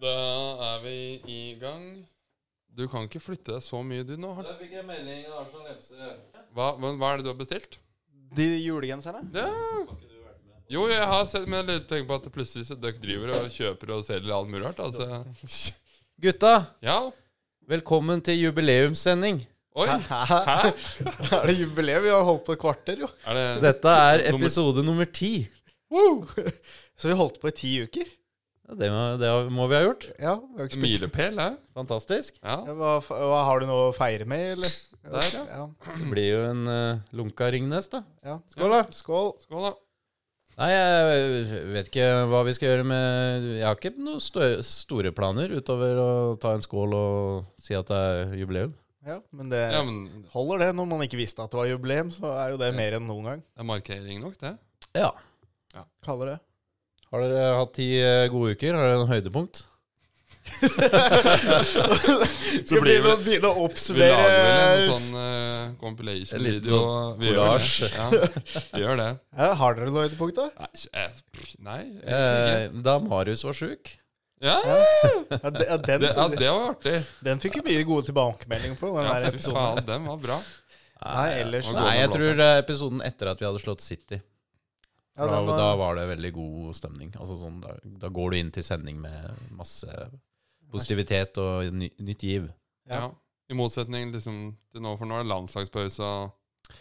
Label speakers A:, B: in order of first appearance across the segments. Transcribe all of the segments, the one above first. A: Da er vi i gang. Du kan ikke flytte deg så mye, du nå. Hans.
B: fikk jeg melding av Arsenal FC.
A: Hva, men hva er det du har bestilt?
C: De julegenserne?
A: Ja. Jo, jeg har sett, men jeg tenker på at plutselig så dere driver og kjøper og selger alt mulig rart. Altså.
C: Gutta,
A: Ja.
C: velkommen til jubileumssending.
A: Oi.
C: Hæ?
A: Hæ?
C: Er det jubileum? Vi har holdt på et kvarter, jo.
A: Er det
C: Dette er
A: Nummer-
C: episode nummer ti.
D: Så vi holdt på i ti uker.
C: Ja, det, må, det må vi ha gjort.
D: Ja, vi har ikke
A: en
D: spilt.
A: milepæl, hæ?
C: Fantastisk.
A: Ja.
D: Ja, hva, f- hva Har du noe å feire med, eller?
A: Der, ja.
C: Det blir jo en eh, lunka Ringnes, da.
D: ja.
C: Skål, da.
D: Skål.
A: Skål, da.
C: Nei, jeg vet ikke hva vi skal gjøre med Jeg har ikke noen stø- store planer utover å ta en skål og si at det er jubileum.
D: Ja, men det
A: Ja, men
D: holder, det. Når man ikke visste at det var jubileum, så er jo det mer enn noen gang.
A: det er markering nok, det.
C: Ja.
D: Kaller det.
C: Har dere hatt ti eh, gode uker? Har dere en høydepunkt?
D: Skal
A: blir
D: begynne,
A: det-
D: begynne
A: Vi
D: å
A: lager vel
D: oppsummere
A: en sånn eh,
C: En liten sånn
A: compilation-video. Vi gjør
C: collage.
A: det. Ja, vi gjør det.
D: ja, Har dere noe høydepunkt, da?
A: Nei, eh, pff, Nei. egentlig ikke.
C: Eh, da Marius var sjuk.
A: Ja,
D: Ja, de- ja, den,
A: det, ja, det var artig.
D: den fikk vi mye gode tilbakemeldinger på. Den
A: Ja, fy
D: der
C: sånn.
D: episoden.
A: faen, den var bra.
D: Nei, ellers
A: Og
D: ja,
C: Nei, jeg
A: Blåser.
C: tror det er episoden etter at vi hadde slått City.
D: den
C: da, da
D: var,
C: var det veldig god stemning. Altså sånn, da, da går du inn til sending med masse positivitet og ny, nytt giv.
D: Ja.
A: Ja. I motsetning liksom, til nå, for nå er det landslagspause og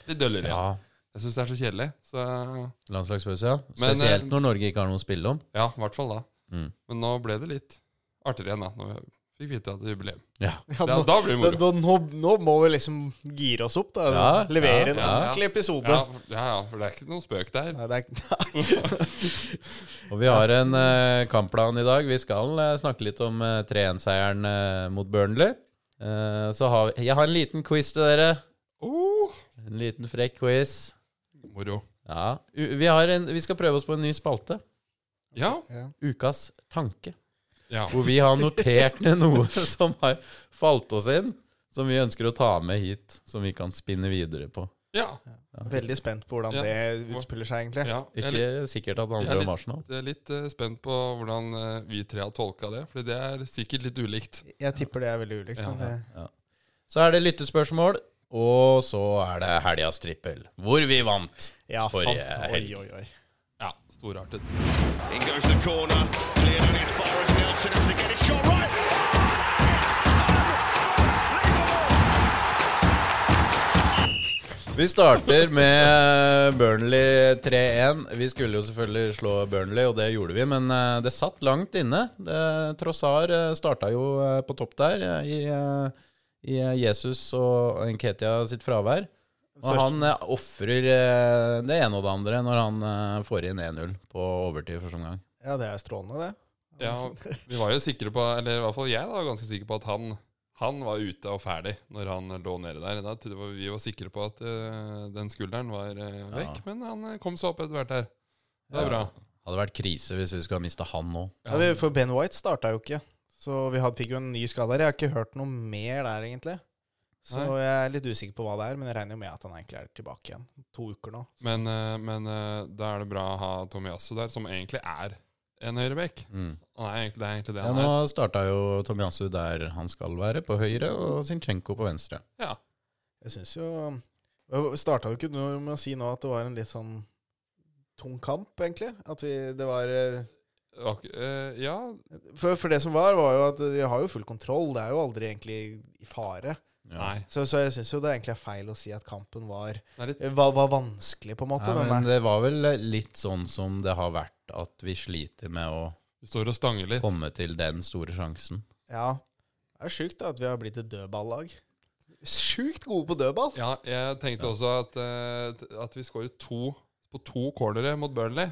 A: litt døller igjen.
C: Ja,
A: Jeg syns det er så kjedelig. Så
C: Landslagspause, ja.
A: Men,
C: Spesielt
A: eh,
C: når Norge ikke har noe å spille om.
A: ja, i hvert fall da.
C: Mm.
A: Men nå ble det litt artigere igjen, da. Når vi fikk vite at det er jubileum.
C: Ja.
D: ja,
A: Da,
D: nå,
A: da blir det
D: da,
A: moro.
D: da, nå, nå må vi liksom gire oss opp, da.
C: Ja,
D: Levere
C: ja,
D: en
A: ja.
D: ordentlig episode.
A: Ja, for- ja, ja, for det er ikke noe spøk der.
D: Nei, det er, ikke-
C: Og vi har en eh, kampplan i dag. Vi skal eh, snakke litt om eh, 3-1-seieren eh, mot Burnley. Eh, så har vi, jeg har en liten quiz til dere.
A: Oh,
C: En liten frekk quiz.
A: moro.
C: Ja. U vi, har en, vi skal prøve oss på en ny spalte.
A: Ja.
D: ja.
C: Ukas tanke.
A: ja.
C: hvor vi har notert ned noe som har falt oss inn, som vi ønsker å ta med hit, som vi kan spinne videre på.
A: Ja.
D: Veldig spent på hvordan
A: Ja.
D: det utspiller seg, egentlig.
A: ja. Jeg er litt,
C: Ikke sikkert at det handler om Arsenal.
A: jeg er litt eh, spent på hvordan eh, vi tre har tolka det, for det er sikkert litt ulikt.
D: Jeg tipper det er veldig ulikt.
A: Ja.
D: men det-
C: Så er det lyttespørsmål, og så er det helgas trippel, hvor vi vant.
D: Ja,
C: Forrige
D: faen.
C: helg.
D: Oi, oi, oi.
A: Ja, storartet.
E: In goes the corner, cleared on as far as Nelson has to get it shot right.
C: Vi starter med Burnley 3-1. Vi skulle jo selvfølgelig slå Burnley, og det gjorde vi, men eh, det satt langt inne. Det- Trossar eh, starta jo eh, på topp der eh, i, eh, i eh, Jesus og Nketia sitt fravær. Og han eh, ofrer eh, det ene og det andre når han eh, får inn 1-0 på overtid første omgang.
D: Ja, det er strålende, det.
A: Ja, vi var jo sikre på, eller i hvert fall jeg da, var ganske sikker på at han, han var ute og ferdig når han lå nede der. Da trodde vi- vi var sikre på at eh, den skulderen var eh, vekk, men han eh, kom seg opp etter hvert her. Det er bra.
C: Hadde vært krise hvis vi skulle ha mista han nå.
D: Ja, vi- for Ben White starta jo ikke, så vi hadde, fikk jo en ny skade her. Jeg har ikke hørt noe mer der, egentlig. Så
A: Nei.
D: jeg er litt usikker på hva det er, men jeg regner jo med at han egentlig er tilbake igjen. To uker nå.
A: Men, eh, men eh, da er det bra å ha Tomiasso der, som egentlig er en høyrebekk.
C: Mm.
A: Han er egentlig, det er egentlig det
C: Ja,
A: han
C: nå
A: er.
C: starta jo Tomiasu der han skal være, på høyre, og Zinchenko på venstre.
A: Ja.
D: Jeg syns jo Starta jo ikke noe med å si nå at det var en litt sånn tung kamp, egentlig. At vi, det var eh,
A: Det var ikke- eh, ja,
D: for, for det som var, var jo at vi har jo full kontroll. Det er jo aldri egentlig i fare.
C: Ja.
A: nei.
D: Så, så jeg syns jo det egentlig er feil å si at kampen var
A: Det er litt,
D: var, var vanskelig, på en måte.
C: Ja,
D: den
C: men
D: der.
C: det var vel litt sånn som det har vært, at vi sliter med å
A: vi står og stanger litt.
C: komme til den store sjansen.
D: Ja. Det er sjukt da, at vi har blitt et dødballag. Sjukt gode på dødball.
A: Ja, jeg tenkte også at, eh, t- at vi skåret to på to cornere mot Burnley.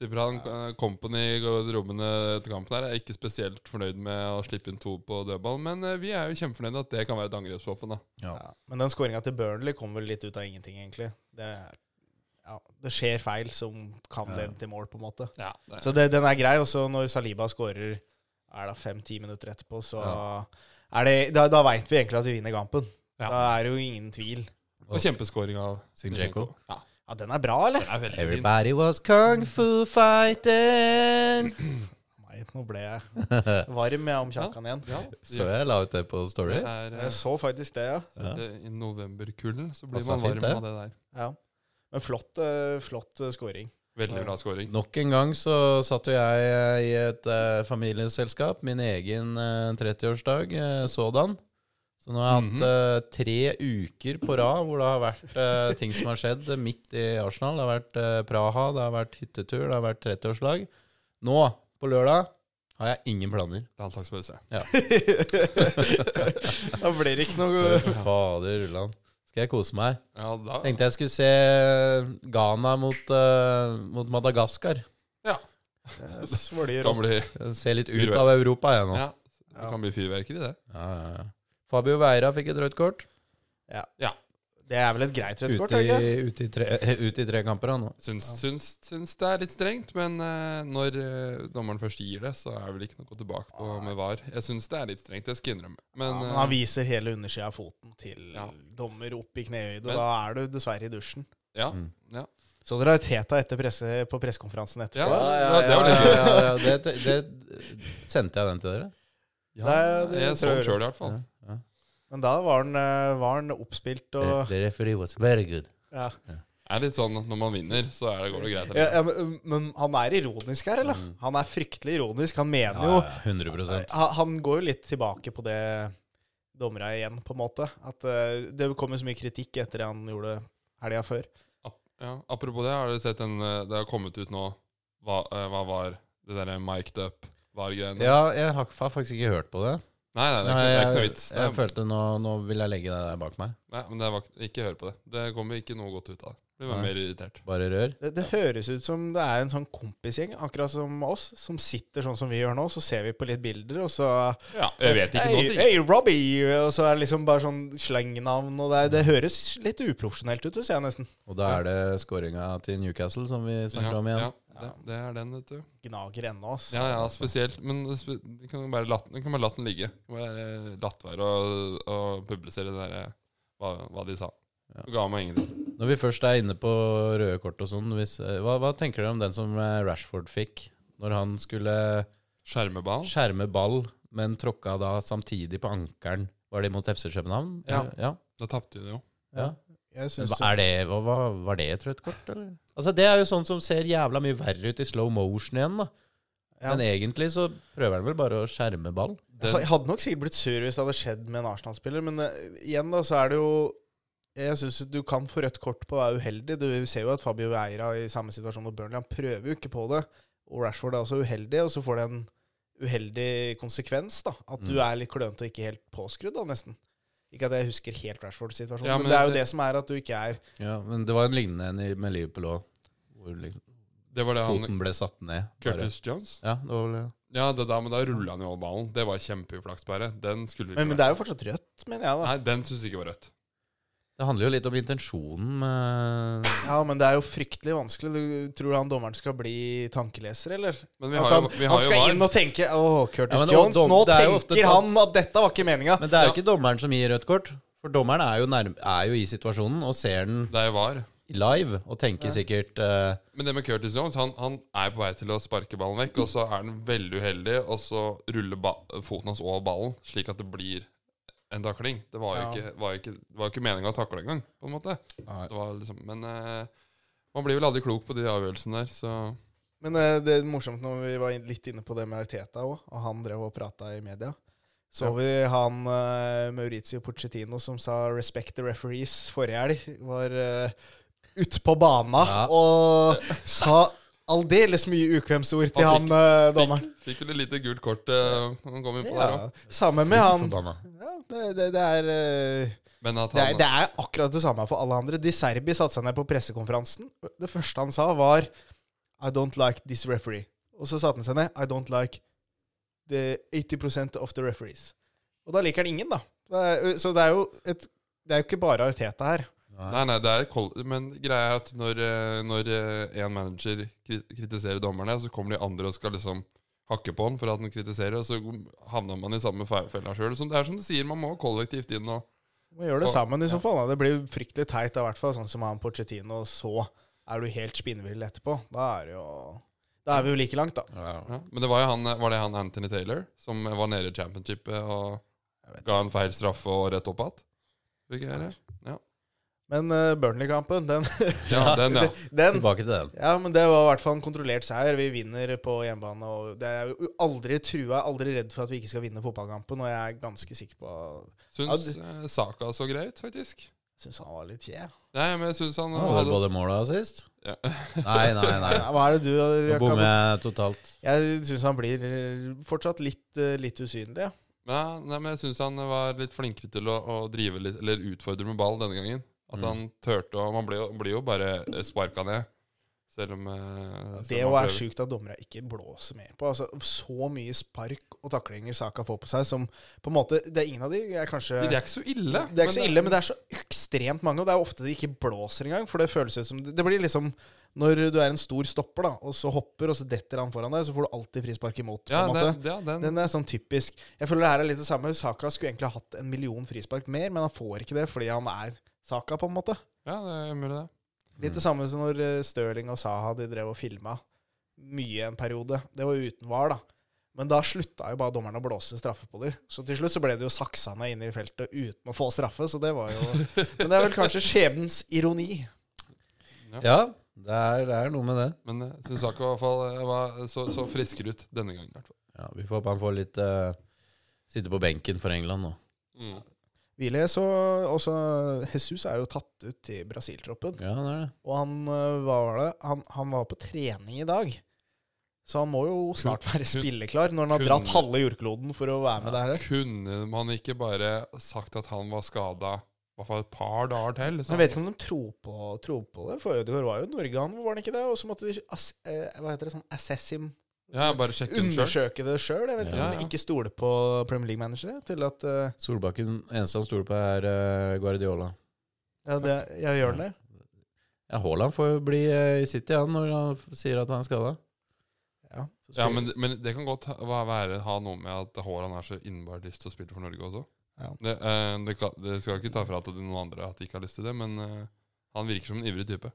A: Tipper han eh, Company i garderobene etter kampen her er ikke spesielt fornøyd med å slippe inn to på dødball, men eh, vi er jo kjempefornøyde at det kan være et angrepsvåpen. da.
C: Ja.
D: Ja. Men den skåringa til Burnley kom vel litt ut av ingenting, egentlig. Det, er- ja, det skjer feil som kan dem til mål, på en måte.
A: Ja, det.
D: Så det, den er grei. Og så når Saliba skårer er det fem-ti minutter etterpå, så er det, da, da veit vi egentlig at vi vinner kampen.
A: Ja.
D: Da er det jo ingen tvil.
A: Og kjempeskåring av
C: Zinchenko.
A: Ja,
D: Ja, den er bra, eller?
A: det er veldig fin.
C: Everybody was kung fu fighting.
D: My Nei, nå ble jeg varm jeg om Kjakan igjen.
A: Ja,
C: Så jeg la ut det på Story.
A: det er, eh,
D: Jeg så faktisk det, ja.
C: Ja.
A: det- I novemberkulden så blir
C: Passer
A: man varm
C: fint, det.
A: av Altså, det der.
D: ja. Men flott, eh, flott eh, scoring.
A: Veldig bra scoring.
C: Nok en gang så satt jo jeg eh, i et eh, familieselskap, min egen eh, 30-årsdag eh, sådan. Så nå har jeg hatt eh, tre uker på rad hvor det har vært eh, ting som har skjedd eh, midt i Arsenal. Det har vært eh, Praha, det har vært hyttetur, det har vært 30-årslag. Nå, på lørdag, har jeg ingen planer.
A: Landslagspause.
D: da blir det ikke noe
C: Fader ulland. Skal jeg kose meg?
A: Ja, da
C: Tenkte jeg skulle se Ghana mot, eh, mot Madagaskar.
D: eh, svølje
A: kan
D: rått.
A: bli,
C: Se litt ut av Europa, jeg nå.
A: ja, det kan bli fyrverkeri, det.
C: Ja, ja, ja. Fabio Veira fikk et rødt kort.
D: Det er vel et greit rødt kort?
C: Ute
D: er det ikke?
C: i, ute, i tre, ute i tre kamper han nå.
A: Syns, syns, syns det er litt strengt, men eh, når eh, dommeren først gir det, så er det vel ikke noe å gå tilbake på med var. Jeg syns det er litt strengt, jeg skal innrømme.
D: Ja,
A: Men
D: men
A: eh,
D: han viser hele undersida av foten til
A: Ja.
D: dommer opp i knehøyde.
A: Men-
D: Da er du dessverre i dusjen.
A: ja,
C: Mm.
A: ja.
D: Så dere har Teta etter presse, på pressekonferansen
A: Ja,
D: etterpå?
A: ja, det var litt gøy.
C: ja, ja, det, det Sendte jeg den til dere?
A: ja,
D: Nei, det
A: jeg
D: tror
A: så den
D: jeg-
A: sjøl, i hvert fall.
C: Ja, ja.
D: Men da var han, eh, var han oppspilt
C: The,
A: Eh,
D: og
C: the referee was very good.
D: ja.
A: Det er litt sånn at når man vinner, så er det, går det Mm. greit.
D: Ja, ja, men, men han er ironisk her, eller? Han er fryktelig ironisk. Han mener jo
C: Ja, ja, 100
D: Ha- Han går jo litt tilbake på det dommera igjen, på en måte. At eh, det kom jo så mye kritikk etter det han gjorde helga før.
A: Ap ja, apropos det, har dere sett den eh, Det har kommet ut nå hva, eh, hva var det derre mic'd up-var-greiene?
C: Ja, jeg har har faktisk ikke hørt på det.
A: Nei, nei, det er ikke, det er ikke noe vits.
C: jeg,
A: Det
C: jeg
A: er,
C: følte nå, nå vil jeg legge det der bak meg.
A: nei, men det var, ikke- ikke hør på det. Det kommer ikke noe godt ut av det. Blir
C: Nei.
A: bare mer irritert.
C: Bare rør.
D: Det, det høres ut som det er en sånn kompisgjeng, akkurat som oss, som sitter sånn som vi gjør nå. Så ser vi på litt bilder, og så
A: Ja, jeg vet ikke
D: hey,
A: noe ting.
D: hey, Robbie! Og så er det liksom bare sånn slengnavn, og det, er- det høres litt uprofesjonelt ut, syns jeg nesten.
C: Og da er det skåringa til Newcastle som vi snakker om igjen.
A: Ja, det, det er den, vet du.
D: Gnager ennå, altså. ass.
A: Ja, ja, spesielt. Men spe du kan jo bare latt, du kan bare latt den ligge. Du kan Bare latt være å, å publisere det der, eh, hva, hva de sa.
C: Ja.
A: Du ga meg ingenting.
C: Når vi først er inne på røde kort og sånn, hvis, eh, hva, hva tenker dere om den som eh, Rashford fikk? Når han skulle
A: Skjermeball.
C: skjerme ball, men tråkka da samtidig på ankelen. Var det mot FC København?
A: Ja.
C: ja.
A: Da tapte hun jo.
C: ja.
D: Jeg
C: Men
D: synes
C: hva- Er det, hva, hva, var det et rødt kort, eller? Altså, det er jo sånn som ser jævla mye verre ut i slow motion igjen, da.
D: Ja.
C: Men egentlig så prøver han vel bare å skjerme ball.
A: Den-
D: Jeg hadde nok sikkert blitt sur hvis det hadde skjedd med en Arsenal-spiller, men eh, igjen da, så er det jo Jeg syns du kan få rødt kort på å være uheldig. Du ser jo at Fabio Eira i samme situasjon som Burnley, han prøver jo ikke på det. Og Rashford er også uheldig, og så får det en uheldig konsekvens, da. At du
A: Mm.
D: er litt klønete og ikke helt påskrudd, da, nesten. Ikke at jeg husker helt Rashfords situasjon,
A: Ja,
D: men,
A: men
D: det er jo
A: det-
D: det som er at du ikke er
C: Ja, men det var en lignende en i- med Liverpool òg, hvor liksom,
A: Det var det han
C: foten ble satt ned. Bare.
A: Curtis Jones.
C: Ja, det var vel det.
A: Ja, det der, men da rulla han jo over ballen. Det var kjempeuflaks, bare. Den skulle
D: Men, men det er jo fortsatt rødt, mener jeg, da.
A: Nei, den syns jeg ikke var rødt.
C: Det handler jo litt om intensjonen med
D: Ja, men det er jo fryktelig vanskelig. Du tror han dommeren skal bli tankeleser, eller?
A: Men vi
D: At
A: har
D: han,
A: jo, vi
D: han
A: har jo
D: skal
A: VAR.
D: inn og tenke Å, Curtis
C: Ja, men
D: Jones,
C: dom-
D: nå
C: det er jo ofte
D: tenker
C: tatt-
D: han at dette var ikke meninga.
C: Men det er jo
A: Ja.
C: ikke dommeren som gir rødt kort. For dommeren er jo, nærm er jo i situasjonen og ser den
A: Det er jo VAR.
C: live og tenker sikkert eh,
A: Men det med Curtis Jones, han, han er på vei til å sparke ballen vekk, og så er han veldig uheldig, og så ruller ba foten hans over ballen, slik at det blir en takling. Det var jo
D: Ja.
A: ikke, var jo ikke, det var jo ikke meninga å takle engang, på en måte. Så det var liksom, men eh, man blir vel aldri klok på de avgjørelsene der, så
D: Men eh, det er morsomt når vi var inn- litt inne på det med Arteta òg, og han drev og prata i media. Så
A: Ja.
D: vi han eh, Maurizio Pochettino som sa 'respect the referees' forrige helg. Var eh, ute på bana
C: Ja.
D: og sa aldeles mye ukvemsord til
A: Han
D: han, eh,
A: fikk,
D: dommeren.
A: fikk vel et lite gult kort eh, når han kom inn på der
D: Ja,
A: òg.
D: sammen med han
C: forbanna.
D: ja, det, det, det er eh,
A: Men at
D: Det er,
A: han
D: det er akkurat det samme for alle andre. De Serbi satte seg ned på pressekonferansen. Det første han sa, var I don't like this referee. Og så satte han seg ned. I don't like the 80 of the referees. Og da liker han ingen, da. Det er, så det er jo et det er jo ikke bare Arteta her.
A: Nei, nei, det er koll- men greia er at når, eh, når eh, en manager kri- kritiserer dommerne, så kommer de andre og skal liksom hakke på han for at han kritiserer, og så havner man i samme fe- fella sjøl. Det er som du sier, man må kollektivt inn og
D: Man gjør det
A: Og-
D: sammen i så fall. Da. Det blir fryktelig teit, da, i hvert fall sånn som han Pochettino. Og så er du helt spinnvill etterpå. Da er det jo Da er vi jo like langt, da.
A: Ja, men det var jo han, eh, var det han Anthony Taylor som eh, var nede i championshipet og ga en feil straffe og rett opp igjen? Hvilket er det?
D: Men eh, Burnley-kampen, den,
A: Ja, den, ja.
D: den
C: Tilbake til den.
D: Ja, men det var i hvert fall en kontrollert seier. Vi vinner på hjemmebane. og Det er jo aldri trua, aldri redd for at vi ikke skal vinne fotballkampen, og jeg er ganske sikker på
A: Syns eh, Saka så grei ut, faktisk.
D: Syns han var litt kje.
A: Nei, men jeg syns han
C: Han hadde
A: hadde
C: både mål og assist.
A: Ja.
C: Nei, nei, nei.
D: Ja, Hva er det du
C: Nå bommer jeg totalt.
D: Jeg syns han blir eh, fortsatt litt, eh, litt usynlig. Ja.
A: Ja, nei, men jeg syns han var litt flinkere til å, å drive litt, eller utfordre med ball denne gangen.
D: Mm.
A: At han turte å Man blir jo, blir jo bare sparka ned, selv om eh,
D: Det
A: selv om
D: òg
A: han
D: er
A: prøver.
D: sjukt at dommere ikke blåser med på. Altså, så mye spark og taklinger Saka får på seg, som på en måte Det er ingen av de er kanskje
A: Men Det er ikke så ille.
D: eh, Det er ikke så ille, men det er så ekstremt mange, og det er ofte det ikke blåser engang. For det føles ut som Det blir liksom når du er en stor stopper, da, og så hopper, og så detter han foran deg, så får du alltid frispark imot. På
A: ja,
D: en
A: den,
D: måte.
A: ja, den,
D: Den er sånn typisk. Jeg føler det her er litt det samme. Saka skulle egentlig ha hatt en million frispark mer, men han får ikke det fordi han er Saka, på en måte.
A: ja, det er mulig, det.
D: Litt det samme som når eh, Stirling og Saha de drev og filma mye en periode. Det var jo uten var, da. Men da slutta jo bare dommerne å blåse straffe på dem. Så til slutt så ble det jo saksa ned inne i feltet uten å få straffe, så det var jo Men det er vel kanskje skjebnens ironi.
C: Ja, det er, det er noe med det.
A: Men jeg syns Saka i hvert fall eh, var så, så friskere ut denne gangen. i hvert fall.
C: Ja, vi får håpe han får litt eh, Sitte på benken for England nå.
A: Mm.
D: Hvile så også Jesus er jo tatt ut i Brasil-troppen,
C: Ja, det er det.
D: og han eh, hva var det? Han, han var på trening i dag. Så han må jo snart være spilleklar, når han har dratt halve jordkloden for å være med der.
A: Kunne man ikke bare sagt at han var skada i hvert fall et par dager til?
D: Men jeg vet ikke om de tror på, tror på det, for Ødegaard var jo i Norge, han var han ikke det? Og så måtte de ass, eh, hva heter det, sånn assess him,
A: Ja, bare sjekke den sjøl.
D: undersøke det sjøl. Jeg vet ikke
A: Ja, ja.
D: om de ikke stoler på Premier League-managere. Til at eh,
C: Solbakken, eneste han stoler på, er eh, Guardiola.
D: ja, det, ja, gjør det.
C: Ja, Haaland får jo bli eh, i City, han, når han f- sier at han er skada.
D: Ja.
A: Ja, men, men det kan godt ha- være, ha noe med at Haaland har så innbart lyst til å spille for Norge også.
D: Ja.
A: Det, eh, det, kan, det skal jo ikke ta fra til noen andre at de ikke har lyst til det, men eh, han virker som en ivrig type.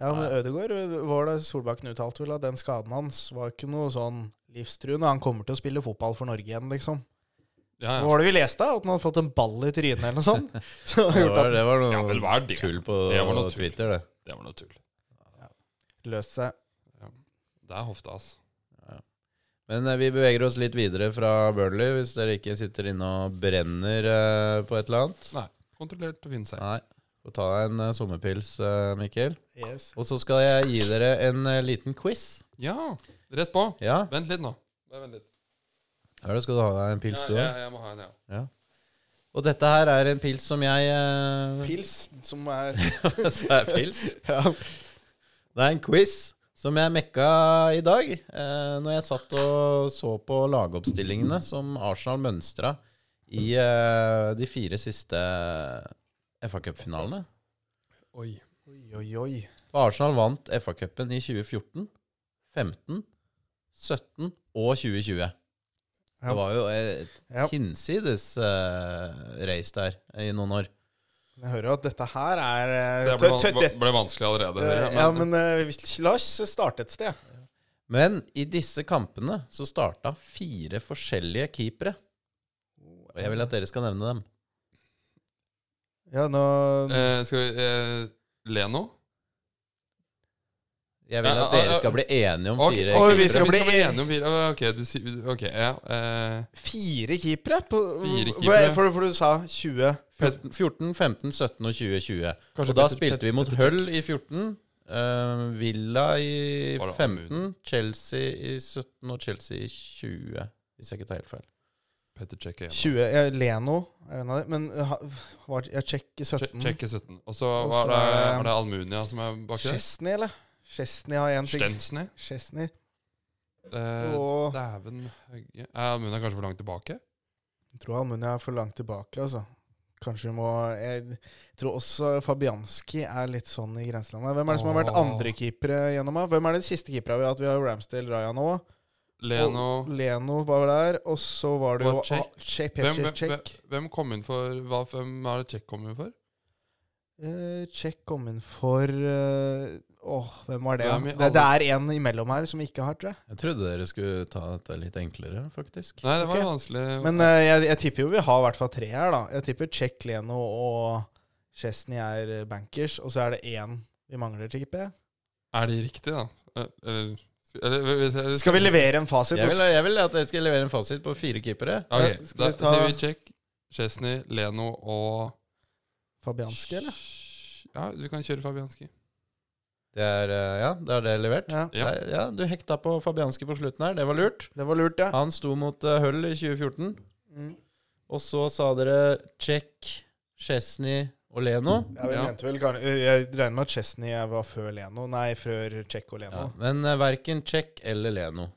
D: Ja, men
C: Nei.
D: Ødegaard var det Solbakken uttalte vel at den skaden hans var ikke noe sånn livstruende. Han kommer til å spille fotball for Norge igjen, liksom.
A: Ja,
D: Hva
A: ja.
D: var det vi leste? At han hadde fått en ball i trynet eller noe sånt? Så har
C: Det
D: gjort
C: var,
D: at
C: det var
A: Ja, men
C: noe
A: hva er det?
C: tull på
A: Det var noe tull.
C: Twitter, det.
A: Det var noe tull.
D: han løste seg.
A: Det er hofta, altså.
C: Men eh, vi beveger oss litt videre fra Burnley, hvis dere ikke sitter inne og brenner eh, på et eller annet.
A: Kontrollert og fin seier.
C: Nei. Få ta deg en eh, sommerpils, eh, Mikkel.
D: Yes.
C: Og så skal jeg gi dere en eh, liten quiz.
A: Ja, rett på.
C: Ja,
A: Vent litt nå. Bare Vent litt.
C: Her skal du ha deg en pils,
A: Ja,
C: du
A: ja,
C: òg.
A: jeg må ha en, ja.
C: Og dette her er en pils som jeg eh,
D: Pils, som er
C: Så er pils.
D: ja.
C: Det er en quiz som jeg mekka i dag. Eh, når jeg satt og så på lagoppstillingene som Arsenal mønstra i eh, de fire siste FA-cupfinalene.
A: Oi.
D: Oi, oi, oi.
C: Arsenal vant FA-cupen i 2014, 15, 17 og 2020.
D: Ja.
C: Det var jo et
D: Ja.
C: hinsides eh, race der i noen år.
D: Jeg hører jo at dette her er eh,
A: Det ble,
D: tø- tø-
A: ble, ble vanskelig allerede.
D: dette-
A: hører jeg,
D: Ja, men eh, vi- la oss starte et sted.
C: Men i disse kampene så starta fire forskjellige keepere. Og jeg vil at dere skal nevne dem.
D: Ja, nå
A: Eh, skal vi eh, Leno?
C: Jeg vil
A: Ja,
C: at
A: ja,
C: dere
A: ja.
C: skal bli enige om
A: Ok,
C: fire
D: oi, vi
C: keepere.
D: skal
A: vi
D: bli-
A: skal bli enige om fire. Ok, du, sier- ok ja. Eh,
D: Fire keepere? På,
A: Fire
D: hva-
A: keepere.
D: For, for du sa 20.
C: 14, 14, 15, 17 og 2020.
A: kanskje
C: Og da
A: Petter-
C: spilte vi mot
A: Petter-
C: Hull i 14, eh, Villa i
A: Var det
C: 15, Chelsea i 17 og Chelsea i 20. Hvis jeg ikke tar helt feil.
A: Petter Cech igjen.
D: 20 ja, Leno er en av dem. Men eh, ha- var, jeg sjekker
A: Che-
D: 17.
A: Cech er 17. Og så
D: Og
A: var
D: så
A: det,
D: er
A: var
D: det-
A: det Almunia som er bak der.
D: Chesney, eller? Chesney har én ting.
A: Stensny.
D: Chesney.
A: Eh,
D: Og
A: Dæven høgge. Er Almunia kanskje for langt tilbake?
D: jeg tror Almunia er for langt tilbake, altså. Kanskje vi må Jeg tror også Fabianski er litt sånn i grenselandet. Hvem er det som har vært
A: Åh.
D: andrekeepere gjennom her? Hvem er det siste keepere vi har hatt? Vi har jo Ramsdale Raja nå.
A: Leno
D: Leno var der, og så var det jo
A: Og Cech.
D: Ah, Cech, Pep,
A: hvem,
D: Cech,
A: hvem, hvem,
D: Cech.
A: hvem kom inn for hva, Hvem er det Cech kom inn for?
D: Eh, Cech kom inn for eh, Åh, hvem var det?
A: Hvem i
D: Det, det er en imellom her som ikke har, tror jeg.
C: Jeg trodde dere skulle ta dette litt enklere, faktisk.
A: Nei, det var
D: Ok.
A: vanskelig.
D: Men eh, jeg, jeg tipper jo vi har i hvert fall tre her, da. Jeg tipper Check Leno og Chesney er eh, bankers, og så er det én vi mangler, tipper jeg.
A: er de riktige, da? Eh, Eller, eller, eller- eller-
D: Skal vi levere en fasit?
C: Jeg
D: og
C: vil, jeg vil at dere skal levere en fasit på fire keepere.
A: Ok,
D: Skal
A: da
D: vi ta-
A: sier vi check. Chesney, Leno og
D: Fabianski, eller?
A: Ja, du kan kjøre Fabianski.
C: Det er, eh, ja, da er det levert.
D: Ja.
A: Ja.
C: Nei, ja, Du hekta på Fabianski på slutten her, det var lurt.
D: Det var lurt, ja.
C: Han sto mot eh, Hull i 2014.
D: Mm.
C: Og så sa dere Check, Chesney og Leno.
D: Ja, vi
A: Ja.
D: mente vel, kan- jeg regner med at Chesney var før Leno. Nei, før Check og Leno.
C: Ja, men uh, verken Check eller Leno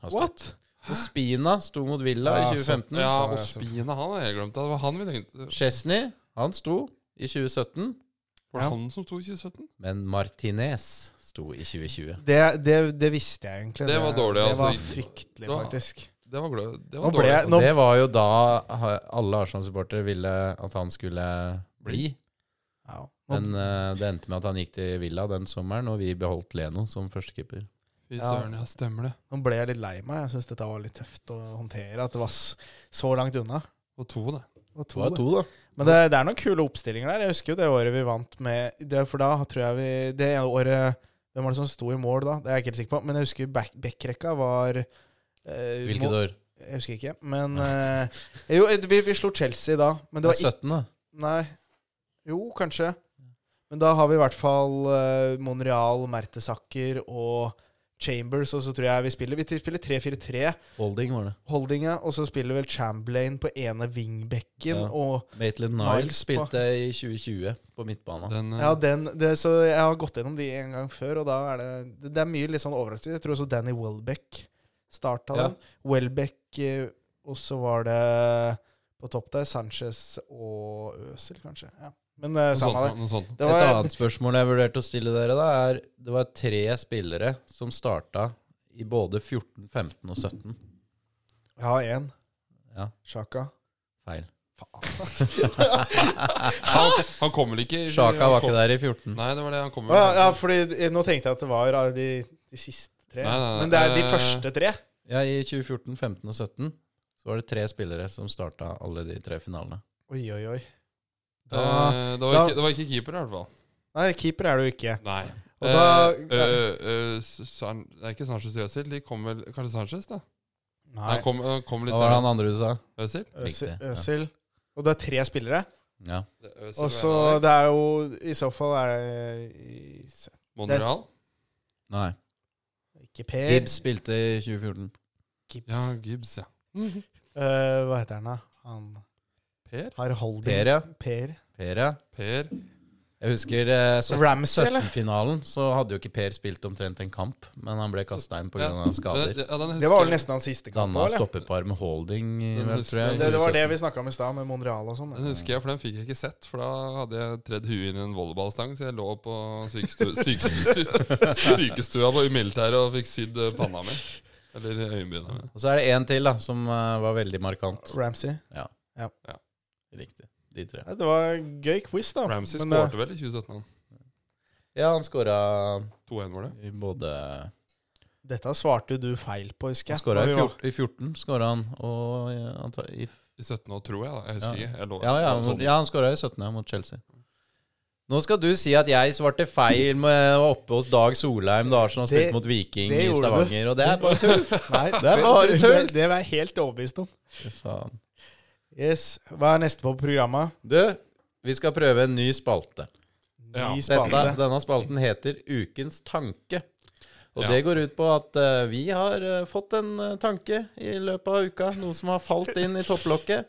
C: har stått.
D: What?
C: Ospina sto mot Villa
D: Ja,
C: i 2015.
A: Ja, og
D: så-
A: Spina, han har jeg glemt. Det var han vi tenkte.
C: Chesney, han sto i 2017.
A: Var det
D: Ja.
A: han som sto i 2017?
C: Men Martinez sto i 2020.
D: Det, det, det visste jeg egentlig.
A: Det var dårlig,
D: Det
A: altså.
D: var fryktelig,
A: Da-
D: faktisk.
A: Det var, glø- det
D: Nå
A: var
D: ble
A: dårlig.
D: jeg-
C: Og
D: Nå-
C: det var jo da ha- alle Arsenal-supportere ville at han skulle bli.
D: Ja. Nå,
C: Men eh, det endte med at han gikk til Villa den sommeren, og vi beholdt Leno som førstekeeper.
A: Fy
D: Ja.
A: søren, ja, stemmer det.
D: nå ble jeg litt lei meg. Jeg syns dette var litt tøft å håndtere, at det var s- så langt unna.
A: Og to, det.
D: Og
C: Det var to, da.
D: Men det, det er noen kule oppstillinger der. Jeg husker jo det året vi vant med det, For da tror jeg vi Det ene året Hvem var det som sto i mål da? Det er jeg ikke helt sikker på. Men jeg husker back- backrekka var eh, må-
C: Hvilket år?
D: Jeg husker ikke. Men eh, Jo, eh, vi, vi slo Chelsea da. Men det var ikke
C: 17, da.
D: Nei. Jo, kanskje. Men da har vi i hvert fall eh, Monreal, Mertesacker og Chambers, og så tror jeg vi spiller Vi spiller 3-4-3,
C: Holding var det.
D: holdinga, og så spiller vel Chamberlain på ene wingbacken,
C: Ja.
D: og
C: Maitland
D: Niles
C: Niles spilte i 2020 på midtbanen.
A: Den, eh,
D: Ja, den, det, så jeg har gått gjennom de en gang før, og da er det Det, det er mye litt sånn overraskende. Jeg tror også Danny Welbeck starta
C: Ja.
D: den. Welbeck, eh, og så var det på topp der Sanchez og Øsil, kanskje. Ja. Men
A: noe,
D: eh, samme
A: sånt,
D: det.
A: noe sånt.
D: Det
C: Et
D: var
C: annet spørsmål jeg vurderte å stille dere, da, er Det var tre spillere som starta i både 14, 15 og 17.
D: Jeg har én.
C: Ja.
D: Sjaka.
C: Feil.
A: Han, han kommer ikke i-
C: Sjaka
A: han
C: var
A: kom-
C: ikke der i 14.
A: Nei, det var det. Han kommer
D: Å, ja, ja, fordi eh, nå tenkte jeg at det var eh, de, de siste tre.
A: Nei, nei, nei.
D: Men det er de
A: Eh,
D: første tre.
C: Ja, I 2014, 15 og 17 så var det tre spillere som starta alle de tre finalene.
D: Oi, oi, oi.
A: Eh,
D: Da,
A: det, var
D: da-
A: ikke, det var ikke keeper, i hvert fall.
D: nei, keeper er du ikke.
A: Nei.
D: Og da-
A: Eh, eh, eh, San, det er ikke Sanchez og Øzil. De kom vel Kanskje Sanchez, da?
D: Nei.
A: Han kom, han kom litt
C: Hva var det
A: senere.
C: han andre du sa?
A: Øzil?
D: Øsil.
C: Riktig, ja.
D: Øsil. Og det er tre spillere?
C: Ja.
A: Øzil var
D: Og så
A: en av dem.
D: det er jo I så fall er det i- s-
A: Monreal?
C: Nei.
D: Ikke Per.
C: Gibbs spilte i 2014.
D: Gibbs.
A: Ja, Gibbs, ja.
D: Eh, hva heter han, da? Han
A: Per?
D: har holding.
C: Per, ja.
D: Per.
C: Per, ja.
A: Per?
C: Jeg husker eh,
D: Ramsey, eller?
C: 17-finalen, så hadde jo ikke Per spilt omtrent en kamp, men han ble kasta inn pga. skader.
A: Ja, den
D: Det var vel
A: husker-
D: nesten hans siste kamp.
C: Danna
D: også, eller?
C: stoppepar med holding, i-
A: Den
C: vel,
A: husker
C: tror jeg.
A: jeg.
D: Det, det var det vi snakka om i stad, med Monreal og sånn.
A: Den husker jeg, for den fikk jeg ikke sett. For da hadde jeg tredd huet inn i en volleyballstang, så jeg lå på sykestu, sykestu, sy- sykestua på i militæret og fikk sydd eh, panna mi. Eller øyenbryna mine.
C: Og så er det én til da, som eh, var veldig markant.
D: Ramsey.
C: Riktig. De tre.
D: Ja, det var en gøy quiz, da.
A: Ramsey
D: Men, eh,
A: skårte vel i 2017? han.
C: Ja, han skåra
A: 2-1-målet.
C: i både
D: eh, Dette svarte du feil på, husker
C: Han
D: jeg.
C: skåra
D: Når
C: i,
D: vi var-
C: fjort, i 14, skåra han, og eh, anta- i
A: I 17 år, tror jeg. da Jeg husker
C: Ja.
A: ikke. Jeg lå,
C: Ja, ja,
A: lå sånn.
C: mot, ja han skåra i 17. ja, mot Chelsea. Nå skal du si at jeg svarte feil med å være oppe hos Dag Solheim da Arsenal
D: Det-
C: spilte mot Viking
D: det
C: i
D: gjorde
C: Stavanger, og det er bare tull!
D: Nei,
C: Det er bare
D: det-
C: tull.
D: Det, det var jeg helt overbevist om.
C: Fy faen.
D: Yes. Hva er neste på programmet?
C: Du, vi skal prøve en ny spalte.
D: Ny
A: Ja.
C: Dette,
D: spalte.
C: denne spalten heter Ukens tanke. Og
A: Ja.
C: det går ut på at eh, vi har eh, fått en eh, tanke i løpet av uka. Noe som har falt inn i topplokket.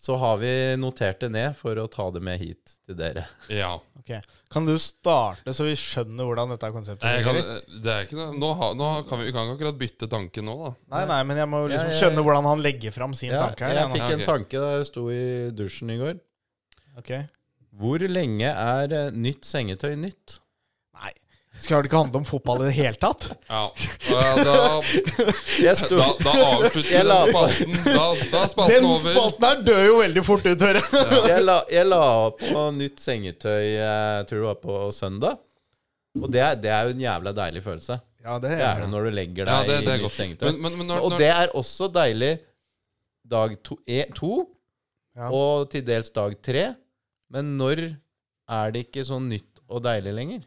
C: Så har vi notert det ned for å ta det med hit til dere.
A: ja.
D: Ok. Kan du starte, så vi skjønner hvordan dette konseptet
A: Nei, jeg kan,
D: fungerer?
A: det er ikke noe Nå, har- nå kan vi, vi kan ikke akkurat bytte tanke nå, da.
D: Nei, nei, men jeg må liksom
C: Jeg- jeg-
D: skjønne hvordan han legger fram sin
C: Ja,
D: tanke her.
C: jeg
D: jeg
C: fikk
A: Ja,
C: en
A: ok.
C: tanke da jeg sto i dusjen i går.
D: nå. Ok.
C: Hvor lenge er eh, nytt sengetøy nytt?
D: Nei. Skal det ikke handle om fotball i det hele tatt?
A: Ja. Og Da,
C: Jeg
A: da, da avslutter vi
C: Jeg la
A: den
C: på.
A: spalten. Da, da er
D: Den
A: spalten over.
D: spalten her dør jo veldig fort ut, hører jeg.
C: eh, jeg, la, jeg la på nytt sengetøy, jeg tror det var på søndag. Og det er, det er jo en jævla deilig følelse.
D: Ja, det
C: Det er
D: er
C: det når du legger
A: Ja,
C: deg
A: det, det
C: i
A: er
C: nytt
A: godt.
C: sengetøy.
A: Men, men, men når,
C: Og
A: når,
C: det er også deilig dag to, e, to
D: Ja.
C: og til dels dag tre. Men når er det ikke sånn nytt og deilig lenger?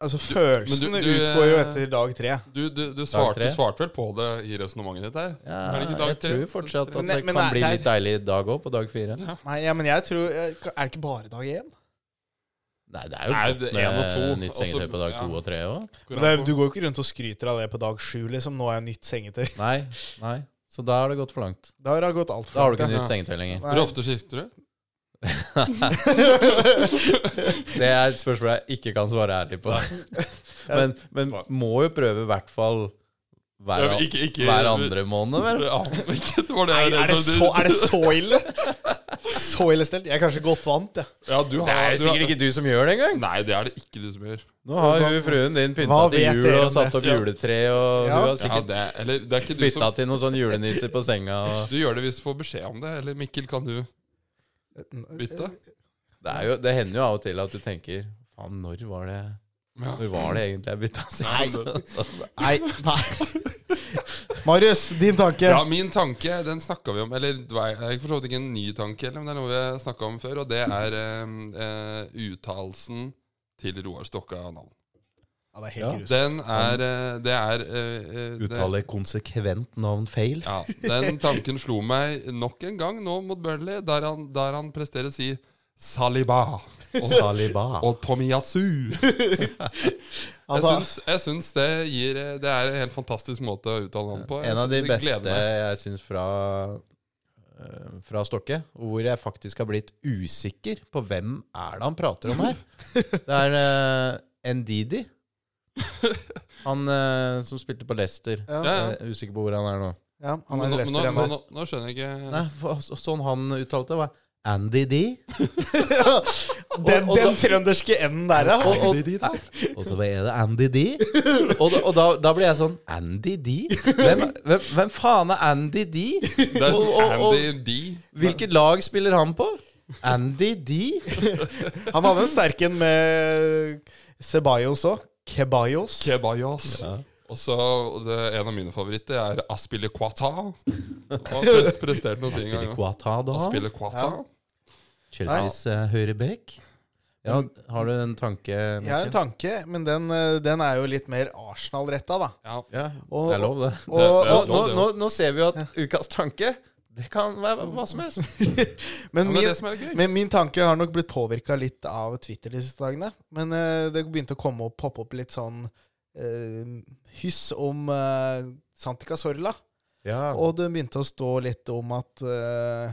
D: Altså,
A: men
D: følelsen
A: du- du,
D: utgår jo
A: eh,
D: etter dag tre.
A: du, du, du, svarte,
C: tre.
A: du svarte vel på det i resonnementet ditt her?
C: Ja,
A: Er det ikke dag
C: jeg
A: tre?
C: tror fortsatt at
D: Men-
C: det
D: men
C: kan
D: det-
C: bli
D: det er-
C: litt deilig i dag òg, på dag fire.
D: Nei, ja, men jeg tror eh, Er det ikke bare dag én?
C: Nei, det er jo
A: Nei,
C: godt
A: det er en og
C: med
A: to,
C: nytt
A: og så-
C: sengetøy på dag
A: ja.
C: to og tre òg.
D: Men det, er- du går jo ikke rundt og skryter av det på dag sju, liksom. Nå har jeg nytt sengetøy.
C: Nei, nei. Så da er det gått for langt.
D: Da har det gått altfor
C: Da har du ikke
A: Ja.
C: nytt sengetøy lenger.
A: Hvor ofte skifter du?
C: Det er et spørsmål jeg ikke kan svare ærlig på. Men, men må jo prøve i hvert fall hver,
A: Ja, ikke- ikke-
C: hver andre måned, vel?
A: Ja, ikke, det var det jeg var
D: Nei, er det
A: redd for.
D: så, er det så ille? Så ille stelt? Jeg er kanskje godt vant, jeg.
A: Ja, du har, du
C: Det er jo
A: har-
C: sikkert ikke du som gjør det engang.
A: Nei, det er det ikke du som gjør.
C: Nå har hun fruen din pynta
D: Hva
C: til
D: vet
C: jul
D: dere om
C: og satt opp
A: det? Ja.
C: juletre, og
D: Ja.
C: du har
A: Ja,
C: sikkert
A: det, er- eller, det er ikke du
C: bytta
A: som
C: til noen sånn julenisser på senga. Og
A: Du gjør det hvis du får beskjed om det. Eller Mikkel, kan du bytte?
C: det, er jo, det hender jo av og til at du tenker Faen, når var det
A: Ja.
C: Når var det egentlig jeg bytta sist?
D: Nei. Marius, din tanke.
A: Ja, min tanke, den snakka vi om Eller det var- det er for så vidt ikke en ny tanke, eller, men det er noe vi har snakka om før, og det er eh, eh, uttalelsen til Roar Stokka navn.
D: Ja, det
C: Ja.
D: er helt grusomt.
A: Den er eh, Det er eh, eh, det-
C: Uttaler konsekvent navn feil.
A: Ja, Den tanken slo meg nok en gang nå mot Burnley, der han, der han presterer å si Saliba
C: Og Taliban.
A: og Tomiyasu. Jeg
D: Altså,
A: syns, jeg syns det gir Det er en helt fantastisk måte å uttale navn på. Jeg
C: En av de
A: syns det gleder
C: beste
A: meg.
C: jeg syns fra, eh, fra Stokke, og hvor jeg faktisk har blitt usikker på hvem er det han prater om her. Det er eh, Ndidi. Han eh, som spilte på Leicester.
A: Ja,
D: ja,
A: ja.
C: Jeg er usikker på hvor eh, han er nå.
D: ja, han
A: Men
D: er
A: nå,
D: i
A: men nå,
D: Leicester
A: nå,
D: ennå.
A: nå, nå skjønner jeg ikke
C: Nei, for, så- sånn han uttalte det, var Andy D.
D: Den,
C: og- og
D: den
C: da-
D: trønderske enden der, ja.
C: Og, og, og så er det Andy D. Og, da- og da, da blir jeg sånn Andy D? Hvem, hvem, hvem faen er Andy D?
A: Det er
C: Og, og, og
A: Andy D.
C: hvilket lag spiller han på? Andy D?
D: Han hadde en sterk en med Ceballos òg. Kebayos.
A: Kebayos. Og så og det, en av mine favoritter er Aspille Quata. Og prest, prestert noe sin gang.
C: Quata, da?
A: Aspille Quata.
C: Chelseas uh, høyrebekk. Ja, har du en tanke?
D: Jeg har en tanke, men den, eh, den er jo litt mer Arsenal-retta, da.
A: Ja.
C: Ja,
D: Og-
C: det er lov, det.
D: Og,
A: det er
D: og,
A: lov,
C: nå,
A: det
C: nå,
A: også.
C: nå ser vi jo at ukas tanke det kan være hva som helst.
A: Men
D: men
A: det er
D: min,
A: det som er gøy.
D: men min tanke har nok blitt påvirka litt av Twitter de siste dagene. Men eh, det begynte å komme opp, poppe opp litt sånn eh, hyss om eh, Santi Cazorla.
C: Ja.
D: Og det begynte å stå litt om at eh,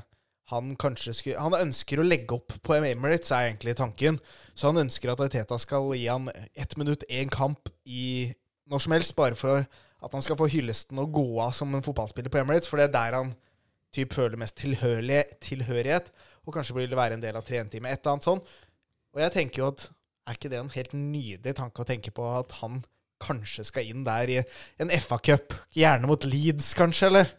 D: han kanskje skulle Han ønsker å legge opp på Emirates, er egentlig tanken. Så han ønsker at Arteta skal gi han ett minutt, én kamp i når som helst, bare for at han skal få hyllesten og gå av som en fotballspiller på Emirates, for det er der han typ føler mest tilhørlig, tilhørighet, og kanskje vil være en del av trentime, et eller annet sånn. Og jeg tenker jo at er ikke det en helt nydelig tanke å tenke på at han kanskje skal inn der i en FA-cup, gjerne mot Leeds kanskje, eller?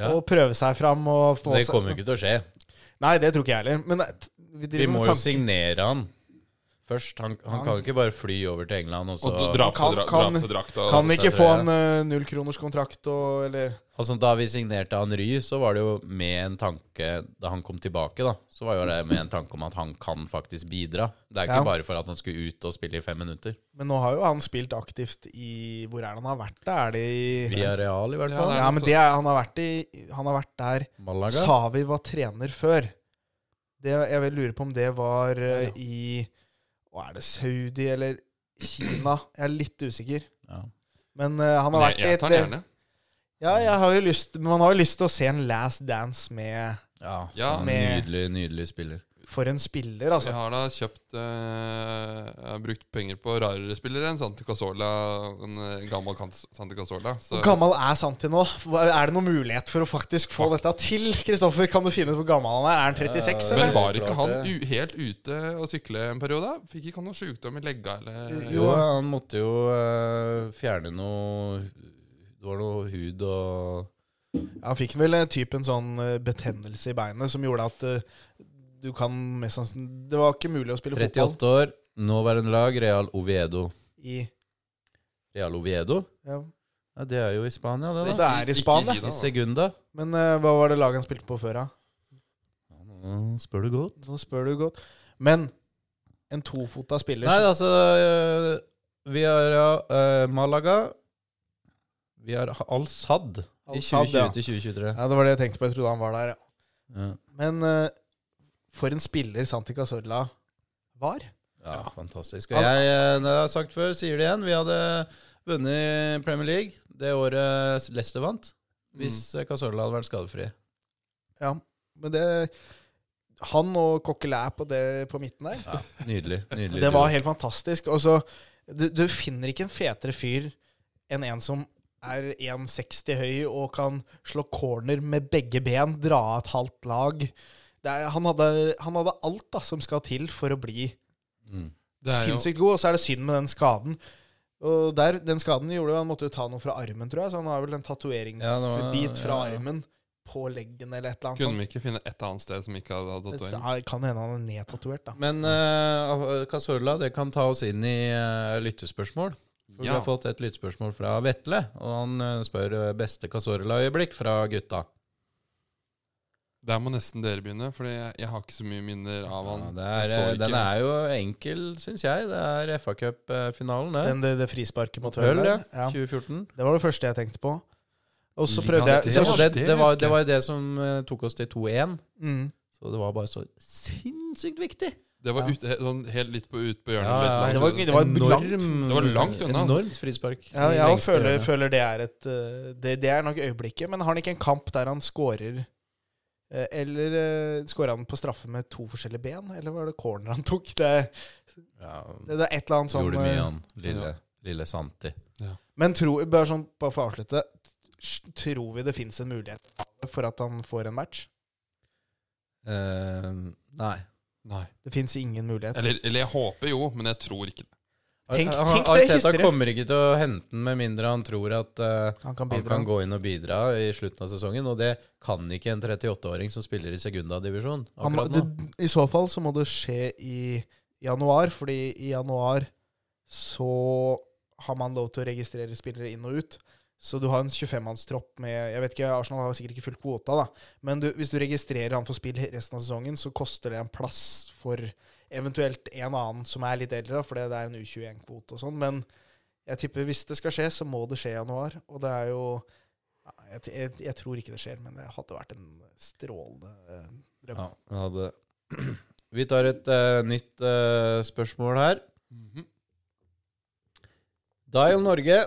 C: Ja.
D: Og prøve seg fram og få
C: Det kommer jo ikke til å skje.
D: Nei, det tror ikke jeg heller. Men eh, t- vi
C: Vi
D: driver
C: må
D: med
C: jo
D: tanke.
C: signere han først. Han, han kan jo ikke bare fly over til England og så
A: Og dra på
D: Kan-
A: seg dra-
D: kan-
A: dra på seg drakta. og-
D: Kan
C: så
D: ikke
C: tror
D: få
C: jeg-
D: en eh, nullkronerskontrakt og eller
C: Altså, da vi signerte Henry, så var det jo med en tanke Da han kom tilbake, da, så var jo det med en tanke om at han kan faktisk bidra. Det er ikke
D: Ja.
C: bare for at han skulle ut og spille i fem minutter.
D: Men nå har jo han spilt aktivt i Hvor er det han har vært? Da er det i
C: Via Real, i hvert
A: Ja,
C: fall.
A: det
D: Ja, men det er, han, har vært i, han har vært der
C: Malaga.
D: Savi var trener før. Det, jeg vil lure på om det var eh, i Hva er det, Saudi eller Kina? Jeg er litt usikker.
C: Ja.
D: Men eh, han har
A: Nei,
D: vært i
A: jeg
D: et
A: tar den gjerne.
D: Ja, jeg har jo lyst Men man har jo lyst til å se en last dance med
C: Ja,
A: Ja.
C: han er
D: Med-
C: Nydelig, nydelig spiller.
D: For en spiller, altså.
A: Jeg har da kjøpt eh, Jeg har brukt penger på rarere spillere enn Santi Casola. En eh, gammel kans- Santi Casola. Så
D: Hvor gammel er Santi nå? Hva- Er det noen mulighet for å faktisk få dette til? Kristoffer, kan du finne ut hvor gammel han er? Er han 36,
A: Eh, Men
D: eller?
A: var ikke
C: Klart
A: han
C: det.
A: u helt ute og sykle en periode? Fikk ikke han noe sjukdom i legga eller
C: Jo, han måtte jo eh, fjerne noe Det var noe hud og
D: Han fikk vel eh, typ en sånn eh, betennelse i beinet som gjorde at eh, du kan mest sannsynlig Det var ikke mulig å spille fotball.
C: 38 år, nåværende lag, Real Oviedo.
D: i
C: Real Oviedo?
D: ja.
C: Ja, det er jo i Spania, det, da.
D: Det er i
A: Ikke
D: Spania.
A: Kina,
C: I
A: da.
C: Segunda.
D: Men eh, hva var det laget han spilte på før, da?
C: Ja, nå Spør du godt.
D: Nå spør du godt. Men en tofota spiller
C: Nei,
D: som-
C: altså øh, Vi har øh, Malaga. Vi har Al-Sad i
D: Al Sadd,
C: 2020
D: ja.
C: til 2023.
D: ja, Det var det jeg tenkte på. Jeg trodde han var der. ja.
C: Ja.
D: Men eh, for en spiller Santi Cazorla var.
C: Ja, fantastisk. Og
D: Al-
C: jeg, eh, det har jeg sagt før, sier det igjen. Vi hadde vunnet Premier League det året Leicester vant, hvis mm. Casorla hadde vært skadefri.
D: Ja, men det Han og Coquelin på, det- på midten der,
C: Ja, Nydelig. nydelig.
D: det var helt fantastisk. Og så du, du finner ikke en fetere fyr enn en som er 1,60 høy og kan slå corner med begge ben, dra av et halvt lag. Det er, han, hadde, han hadde alt da, som skal til for å bli
C: Mm.
A: Det er jo-
D: sinnssykt god, og så er det synd med den skaden. Og der, Den skaden gjorde jo- Han måtte jo ta noe fra armen, tror jeg, så han har vel en
C: Ja, det var-
D: tatoveringsbit fra
C: ja, ja.
D: armen på leggen eller et eller annet
A: Kunne
D: sånt.
A: vi ikke finne et annet sted som ikke hadde hatt tatovering?
D: Ja, det kan hende han er nedtatovert, da.
C: Men uh, Casorla, det kan ta oss inn i eh, lyttespørsmål. For Vi
A: Ja.
C: har fått et lyttespørsmål fra Vetle, og han eh, spør eh, beste Casorla-øyeblikk fra gutta.
A: Der må nesten dere begynne, for jeg, jeg har ikke så mye minner av han.
C: Ja, det
A: Jeg
C: er,
A: så
C: eh,
A: ikke-
C: den er jo enkel, syns jeg. Det er FA-cupfinalen, det.
D: Den, det, det frisparket mot
C: Mot Hull,
D: Høll,
C: ja.
D: der. ja.
C: 2014.
D: Det var det første jeg tenkte på. Og så
A: Liga
D: prøvde jeg
A: til
C: Mm. Det
D: så,
A: oss.
C: var det,
A: det
C: det, var,
A: husker
C: det
A: jeg.
C: var det som eh, tok oss til 2-1.
D: mm,
C: Så det var bare så sinnssykt viktig.
A: Det var
D: Ja.
A: ut, he- sånn helt litt på ut på hjørnet.
C: Ja,
A: litt
D: Det
A: langt
D: var-
A: ut.
D: det var langt.
A: Det var langt unna.
C: Enormt frispark.
D: ja,
C: I
D: Jeg
C: lengste
D: føler,
C: hjørne.
D: føler det er et eh, det, det er nok øyeblikket, men har han ikke en kamp der han scorer eh, Eller uh, scorer han på straffe med to forskjellige ben, eller var det corner han tok? Det,
C: ja,
D: det, det er et eller annet sånn
C: Gjorde mye,
D: eh,
C: han lille, lille Santi.
D: Men tro, bare, sånn, bare for å avslutte s- Tror vi det fins en mulighet for at han får en match?
C: Eh, nei.
A: Nei.
D: Det fins ingen mulighet.
A: Eller, eller jeg håper jo, men jeg tror ikke det.
D: Tenk-
C: Ar-
D: tenk det,
C: Arteta
D: hysterisk.
C: kommer ikke til å hente den med mindre han tror at eh,
D: han kan
C: han
D: bidra.
C: kan gå inn og bidra i slutten av sesongen. Og det kan ikke en 38-åring som spiller i segundadivisjon
D: Han må,
C: akkurat nå.
D: det, I så fall så må det skje i januar, fordi i januar så har man lov til å registrere spillere inn og ut. Så du har en 25-mannstropp med jeg vet ikke, Arsenal har sikkert ikke full kvota, da. Men du, hvis du registrerer han for spill resten av sesongen, så koster det en plass for eventuelt en annen som er litt eldre, da, fordi det er en U21-kvote og sånn. Men jeg tipper hvis det skal skje, så må det skje i januar. Og det er jo ja, jeg, t- jeg, jeg tror ikke det skjer, men det hadde vært en strålende eh, drøm.
C: Ja, han hadde. Vi tar et eh, nytt eh, spørsmål her.
D: Mhm.
C: Dial Norge,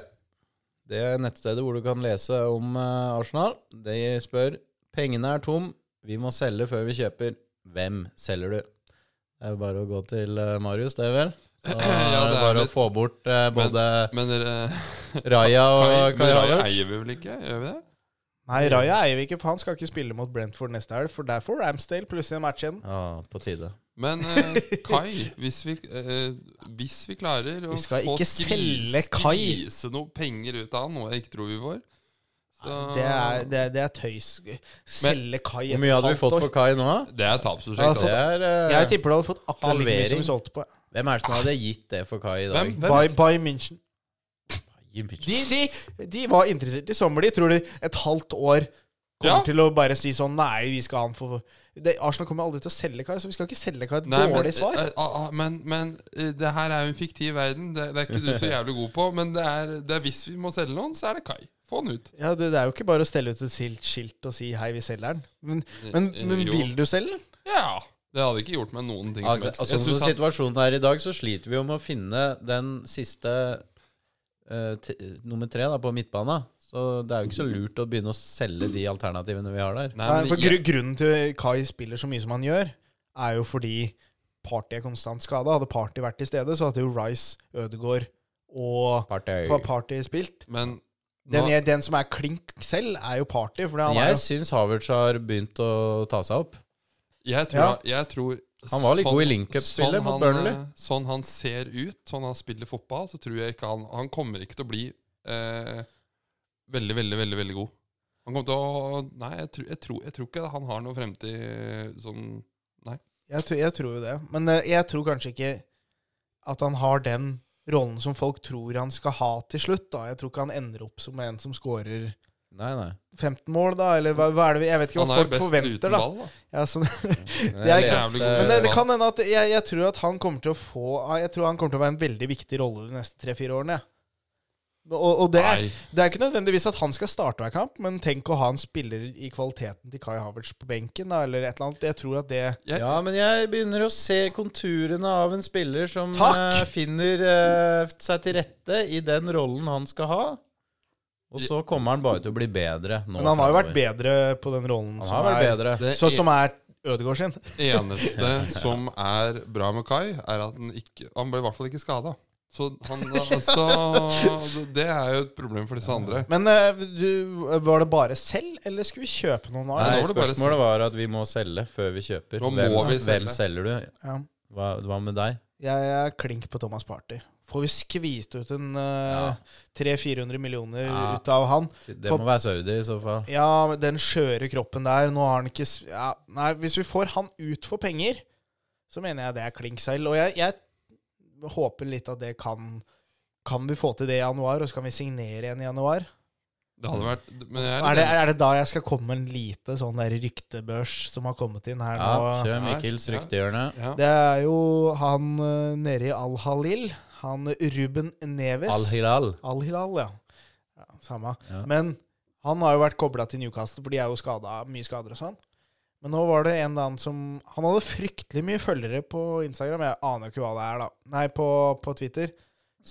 C: det er nettstedet hvor du kan lese om eh, Arsenal. De spør pengene er tom, vi må selge før vi kjøper. Hvem selger du? Det er jo bare å gå til eh, Marius, det er vel? Så
A: Ja,
C: er
A: det
C: det
A: er
C: bare
A: litt-
C: å få bort eh, både
A: Men dere
C: Raja og
A: Kai
C: Kai
A: Raja
C: Havertz.
A: eier vi vel ikke? Gjør vi det?
D: Nei, Raja eier vi ikke, for han skal ikke spille mot Brentford neste helg. For der får Ramsdale plutselig en match igjen.
C: Ja, på tide.
A: Men eh, Kai, hvis vi, eh, hvis vi klarer å
D: Vi skal
A: få
D: ikke selge Kai.
A: skvise noe penger ut av han, noe jeg ikke tror vi får så-
D: Det er, det, er- det er tøys. Selge Kai
C: Hvor mye hadde vi fått for Kai nå? da?
A: Det er et
D: Ja,
A: tapsprosjekt.
D: for-
A: altså.
C: Det er, eh,
D: Jeg tipper du hadde fått akkurat like mye som
C: Halvering.
D: vi solgte på.
C: hvem er det som hadde gitt det for Kai i dag?
A: Hvem?
D: By, by München.
C: Jimmy
D: De, de, de var interessert i sommer, de. Tror de et halvt år kommer
A: Ja.
D: til å bare si sånn Nei, vi skal ha han for det, Arsenal kommer aldri til å selge Kai, så vi skal ikke selge Kai. Et
A: Nei, men,
D: dårlig svar.
A: eh, ah, ah, men, men eh, det her er jo en fiktiv verden. Det, det er ikke du så jævlig god på. Men det er, det er hvis vi må selge noen, så er det Kai. Få han ut.
D: Ja, det, det er jo ikke bare å stelle ut et silt skilt og si 'hei, vi selger den'. Men, men, men
A: Eh, Jo.
D: vil du selge den?
A: Ja. Det hadde ikke gjort meg noen ting som helst.
C: Altså,
A: Jeg
C: sånn
A: synes
C: som
A: han-
C: situasjonen er i dag, så sliter vi jo med å finne den siste eh, t nummer tre da, på midtbanen. Så det er jo ikke så lurt å begynne å selge de alternativene vi har der.
A: Nei,
D: Nei,
A: men
D: for
A: Um, jeg-
D: gru- Grunnen til Kai spiller så mye som han gjør, er jo fordi Party er konstant skada. Hadde Party vært til stede, så hadde jo Rice, Ødegaard og
C: Partey.
D: Pa- Party spilt.
A: Men
D: Den,
A: nå-
D: er, den som er klink selv, er jo Party. For han er
C: Jeg
D: jo
C: syns Havertz har begynt å ta seg opp.
A: Jeg tror,
D: Ja.
A: jeg tror sånn-
C: Han var litt god i link-up-spillet
A: han,
C: mot Burnley.
A: eh, Sånn han ser ut, sånn han spiller fotball, så tror jeg ikke han Han kommer ikke til å bli eh, veldig, veldig, veldig veldig god. Han kommer til å Nei, jeg tror, jeg tror, jeg tror ikke han har noe fremtid eh, sånn
D: jeg, tror- jeg tror jo det. Men eh, jeg tror kanskje ikke at han har den rollen som folk tror han skal ha til slutt. da. Jeg tror ikke han ender opp som en som scorer
C: Nei, nei.
D: 15 mål, da. Eller hva, hva er det vi Jeg vet ikke
A: Han
D: hva
A: er jo
D: folk
A: best uten
D: forventer, da.
A: ball, da.
D: Ja, så,
C: Jeg
D: er ikke
C: leste-
A: sant. Jævlig god.
D: men det, det kan hende at jeg, jeg tror at han kommer til å få ah, Jeg tror han kommer til å være en veldig viktig rolle de neste tre-fire årene. jeg. Og, og det, er,
A: Nei.
D: det er ikke nødvendigvis at han skal starte hver kamp, men tenk å ha en spiller i kvaliteten til Kai Havertz på benken, da, eller et eller annet. Jeg tror at det
A: Jeg,
C: Ja, men jeg begynner å se konturene av en spiller som
D: Takk!
C: eh, finner eh, seg til rette i den rollen han skal ha. Og så kommer han bare til å bli bedre nå.
D: Men han har jo vært
C: fremover.
D: bedre på den rollen
C: Han
D: som
C: har vært
D: er,
C: bedre.
A: Det
D: så, som er Ødegaard sin.
A: eneste som er bra med Kai, er at han ikke Han ble i hvert fall ikke skada. Så han altså, Det er jo et problem for disse andre.
D: Men eh, du, var det bare selv, eller skulle vi kjøpe noen av?
C: Nei,
A: nå var det bare
C: spørsmålet var at vi må selge før vi kjøper.
A: Nå må
C: Hvem,
A: vi selge.
C: hvem selger du?
D: Ja.
C: Hva, hva med deg?
D: Jeg er klink på Thomas Party. Får vi skvist ut en eh, 300-400 millioner
C: Ja.
D: ut av han?
C: Det
D: For-
C: må være Saudi i så fall.
D: Ja, men den skjøre kroppen der Nå har han ikke s- ja, Nei, hvis vi får han ut for penger, så mener jeg det er klink selv. Og jeg, jeg håper litt at det kan Kan vi få til det i januar, og så kan vi signere igjen i januar?
A: Det hadde vært Men jeg
D: Er det, er det da jeg skal komme med en lite sånn der ryktebørs som har kommet inn her
C: Ja,
D: nå?
C: kjør Mikkels
A: Ja.
C: ryktehjørne.
A: Ja.
D: Det er jo han eh, nede i Al-Halil. Han Ruben Neves.
C: Al-Hilal.
D: Al-Hilal, ja. ja samme.
C: Ja.
D: Men han har jo vært kobla til Newcastle, for de er jo skada, mye skader og sånn. Men nå var det en annen som Han hadde fryktelig mye følgere på Instagram. Jeg aner jo ikke hva det er, da. Nei, på, på Twitter.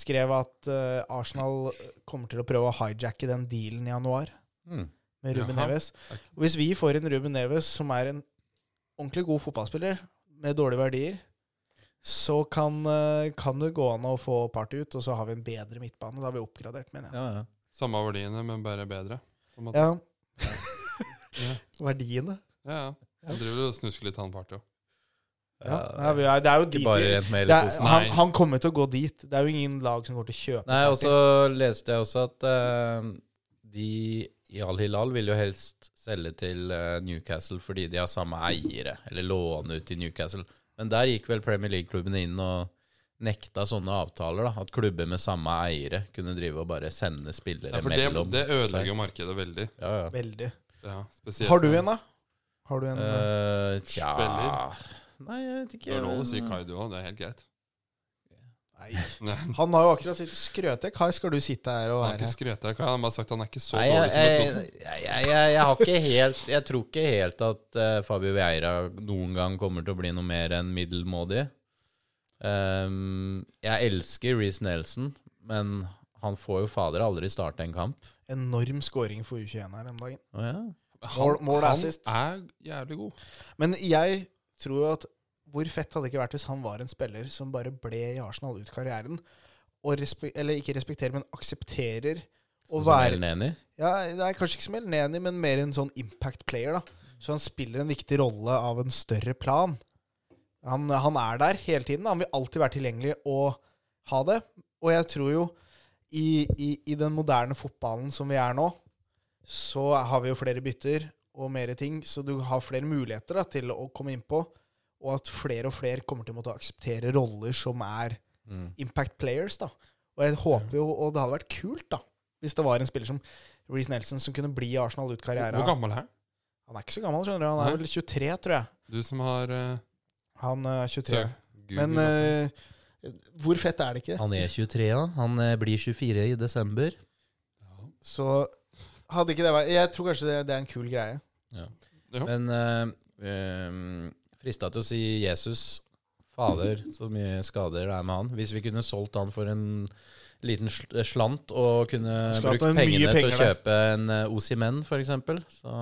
D: Skrev at eh, Arsenal kommer til å prøve å hijacke den dealen i januar
C: Mm.
D: med Ruben
A: Jaha.
D: Neves. Og hvis vi får en Ruben Neves som er en ordentlig god fotballspiller, med dårlige verdier, så kan, eh, kan det gå an å få Party ut, og så har vi en bedre midtbane. Da har vi oppgradert, mener jeg.
C: Ja, ja.
A: Samme verdiene, men bare bedre. på en måte.
D: Ja.
A: Ja.
D: Verdiene.
A: Ja, ja. Han driver og snusker litt, han partyo.
D: Ja. Nei, vi er- det er jo
C: Ikke
D: dit
C: bare
D: vi-
C: rent med
D: det er,
C: hele
D: han,
A: Nei.
D: han kommer til å gå dit. Det er jo ingen lag som går til å kjøpe
C: Nei, og
D: Party.
C: så leste jeg også at eh, de i Al-Hilal vil jo helst selge til eh, Newcastle fordi de har samme eiere, eller låne ut til Newcastle. Men der gikk vel Premier League-klubbene inn og nekta sånne avtaler, da. At klubber med samme eiere kunne drive og bare sende spillere
A: Ja, for det,
C: mellom.
A: det ødelegger jo markedet veldig.
C: Ja, ja.
D: Veldig.
A: Ja, spesielt
D: Har du en, da? Har du en eh,
C: Eh, tja
A: Spiller.
C: Nei, jeg vet ikke.
A: Det er lov å si Kai du òg, det er helt greit.
D: Nei.
A: Nei,
D: Han har jo akkurat sittet skrøtet. Kai, skal du sitte her og
A: han har
D: være
A: ikke skrøt av Kai, han har bare sagt han er ikke så
C: Nei, jeg,
A: dårlig som jeg
C: jeg,
A: trodde.
C: jeg, jeg, jeg, har ikke helt Jeg tror ikke helt at eh, Fabio Vieira noen gang kommer til å bli noe mer enn middelmådig. Ehm, jeg elsker Reece Nelson, men han får jo fader aldri starte en kamp.
D: enorm scoring for U21 her den dagen?
C: Å ja.
D: Mål- mål og
A: han
D: assist.
A: er jævlig god.
D: Men jeg tror jo at hvor fett hadde det ikke vært hvis han var en spiller som bare ble i Arsenal ut karrieren, og respe eller ikke respekterer, men aksepterer å
C: Sånn som
D: være
C: Ellen Eni.
D: ja, Det er kanskje ikke som Elneni, men mer en sånn impact player, da. Så han spiller en viktig rolle av en større plan. Han, han er der hele tiden. Han vil alltid være tilgjengelig og ha det. Og jeg tror jo i, i, i den moderne fotballen som vi er nå, så har vi jo flere bytter og mer ting, så du har flere muligheter da, til å komme innpå. Og at flere og flere kommer til å måtte akseptere roller som er
C: Mm.
D: impact players, da. Og jeg håper jo, og det hadde vært kult, da, hvis det var en spiller som Reece Nelson som kunne bli i Arsenal ut karrieren.
A: Hvor gammel er han?
D: Han er ikke så gammel, skjønner du. Han
A: Nei.
D: er vel 23, tror jeg.
A: Du som har eh,
D: Han er 23.
A: søk- Google.
D: Men eh, hvor fett er det ikke?
C: Han er 23, da. Han eh, blir 24 i desember.
D: Så hadde ikke det vært Jeg tror kanskje det, det er en kul greie.
A: Ja.
C: Men eh, ehm, frista til å si Jesus. Fader, så mye skader det er med han. Hvis vi kunne solgt han for en liten sl- slant og kunne
D: Skulle hatt
C: brukt
D: en mye
C: pengene til å
D: penger der.
C: kjøpe en uh, Osimen, for eksempel, så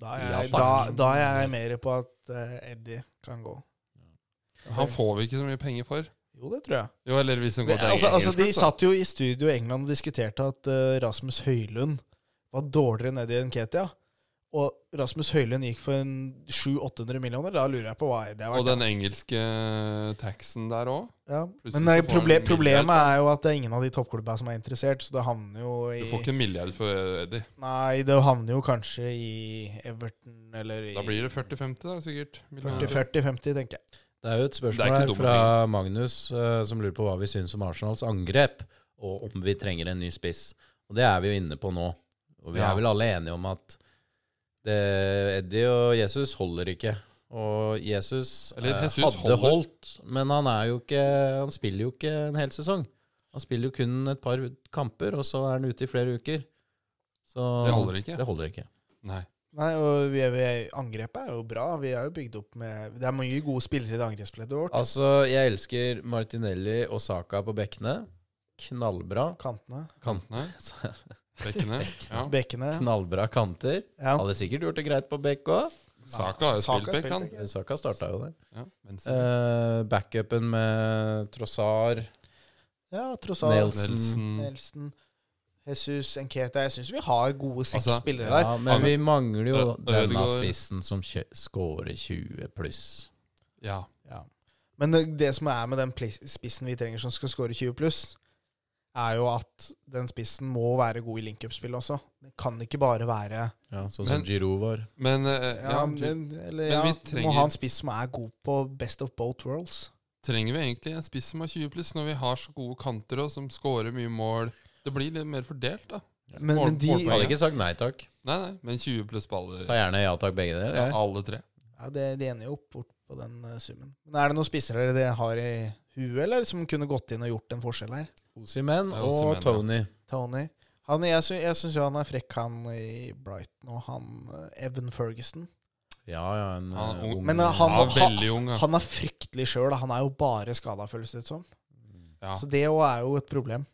D: Da er
C: Ja,
D: jeg, da,
C: faen.
D: da er jeg mer på at eh, Eddie kan gå. eh,
A: Han får vi ikke så mye penger for.
D: Jo, det tror jeg.
A: Jo, eller hvis han går til
D: altså, altså, de
A: engelsk, da.
D: satt jo i studio i England og diskuterte at eh, Rasmus Høylund var dårligere enn Eddie Nketia. Og Rasmus Høylund gikk for en 700-800 millioner. Da lurer jeg på hva Eddie har
A: Og
D: vært.
A: den engelske eh, taxen der òg.
D: Ja.
A: plutselig
D: Men eh,
A: så får han
D: proble
A: en
D: problemet
A: milliard,
D: er jo at det er ingen av de toppklubba som er interessert, så det havner jo
A: Du
D: i
A: får ikke en milliard for eh, Eddie.
D: Nei, det havner jo kanskje i Everton eller i
A: Da blir det 40-50, da, sikkert. Millioner.
D: 40-50, tenker jeg.
C: Det er jo et spørsmål
A: ikke
C: her
A: dumme
C: fra Magnus eh, som lurer på hva vi syns om Arsenals angrep, og om vi trenger en ny spiss. Og det er vi jo inne på nå. Og vi
A: Ja.
C: er vel alle enige om at det, Eddie og Jesus holder ikke. Og Jesus,
A: Eller
C: eh,
A: Jesus
C: hadde
A: holder.
C: holdt, men han, er jo ikke, han spiller jo ikke en hel sesong. Han spiller jo kun et par kamper, og så er han ute i flere uker. Så
A: Det holder ikke.
C: Det holder ikke.
A: Nei.
D: Nei, og vi er, vi er, Angrepet er jo bra. Vi er jo bygd opp med Det er mange gode spillere i det angrepsleddet vårt.
C: Altså, jeg elsker Martinelli og Saka på bekkene. Knallbra.
D: Kantene.
A: Kantene. Bekkene. Ja.
D: Bekkene.
C: Knallbra kanter.
D: Ja.
C: Hadde sikkert gjort det greit på bekk òg.
A: Saka har jo
D: Saka
A: spilt bekk, han.
D: spilte
C: Saka starta jo der.
A: Ja, venstre.
C: Eh, backupen med Trossar,
D: ja Trossal,
C: Nelson,
A: Nelson.
D: Nelson, Jesus, Enketa Jeg syns vi har gode seks
A: Altså,
D: spillere der.
C: ja, Men vi mangler jo
A: Ø-
C: denne
A: Ødegaard.
C: spissen som kjø- scorer 20 pluss.
A: Ja.
D: Men det, det som er med den pli- spissen vi trenger som skal score 20 pluss, er jo at den spissen må være god i link-up-spill også. Den kan ikke bare være
C: Ja, sånn
A: Men-
C: som Giroud var.
A: Men eh,
D: Ja,
A: ja,
D: den, eller,
A: men
D: ja,
A: vi
D: Du
A: trenger-
D: må ha en spiss som er god på best of both worlds.
A: trenger vi egentlig en spiss som har 20 pluss, når vi har så gode kanter og som scorer mye mål? Det blir litt mer fordelt, da.
D: Men,
A: Mål-
D: men de
A: målpoeng.
C: Hadde ikke sagt nei takk.
A: Nei, nei, men 20 pluss på alle,
C: Ta gjerne ja takk, begge deler. jeg.
A: alle tre.
D: ja, det, De ender jo opp bort på den eh, summen. Men er det noen spisser dere det har i huet, eller som kunne gått inn og gjort en forskjell her?
C: Osimhen
A: Ja,
C: og
A: Osimhen, ja.
C: Tony.
D: Tony. Han, jeg sy- jeg syns jo han er frekk, han i Brighton, og han eh, Evan Ferguson.
C: Ja, ja, en
A: Han er
C: eh,
A: ung.
C: ung
D: Men, eh,
A: Han
D: Han-
A: er veldig ung. Ja.
D: Han er fryktelig sjøl. Han er jo bare skada, føles det ut som.
A: Ja,
D: Så det òg er jo et problem.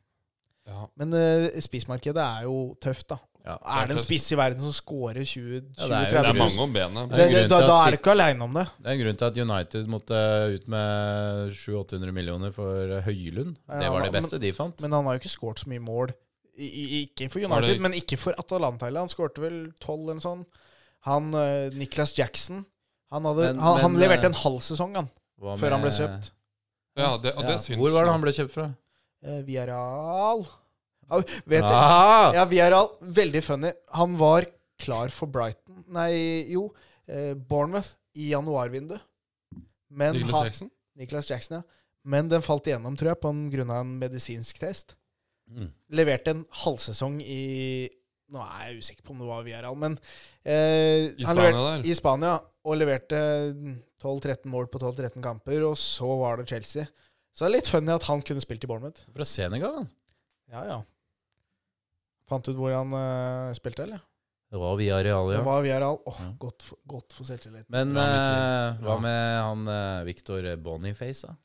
A: ja.
D: Men eh, spissmarkedet er jo tøft, da.
C: Ja,
A: er
D: er det en
A: tøft.
D: spiss i verden som scorer 20-30
C: Ja, det
A: Det
C: er jo- det
A: er mange om
C: Det
A: benet.
C: er
D: det, det,
C: grunnen til
D: da,
C: at
D: da
C: Sit-
D: er du ikke aleine om det.
C: Det er en grunn til at United måtte ut med 700-800 millioner for Høylund.
D: Ja,
C: Det var det
D: men-
C: beste de fant.
D: Men han har jo ikke skåret så mye mål. I, i, ikke for
A: Var
D: United,
A: det-
D: men ikke for Atalanta heller. Han skårte vel 12 eller noe sånt. Han, eh, Niklas Jackson han, hadde,
C: Men-
D: han, han
C: men,
D: leverte
C: eh,
D: en halv sesong han,
C: Hva
D: før han ble
C: med-
D: kjøpt.
A: Ja, det, og det
C: Ja.
A: syns
C: Hvor var det han ble kjøpt fra?
D: Eh, Villarreal Au, Vet du
C: Ah!
D: Ja, Villarreal, veldig funny. Han var klar for Brighton Nei, jo, eh, Bournemouth i januarvinduet. Men
A: Nicholas
D: han-
A: Jackson?
D: Nicholas Jackson, ja. Men den falt igjennom, tror jeg, på grunn av en medisinsk test.
C: Mm.
D: leverte en halvsesong i Nå er jeg usikker på om det var Villarreal, men eh,
A: I
D: han
A: Spania
D: leverte-
A: der?
D: I Spania, og leverte 12-13 mål på 12-13 kamper, og så var det Chelsea. Så det er litt funny at han kunne spilt i Bournemouth.
C: Fra Senegal, han.
D: Ja, ja. Fant du ut hvor han eh, spilte, eller?
C: Det var via Real,
D: Det
C: ja.
D: var Villarreal. Åh,
C: Ja.
D: godt, for- godt for selvtillit.
C: Men
A: Bra, Mikkel.
C: eh,
A: Bra.
C: hva med han eh, Victor Boniface, da?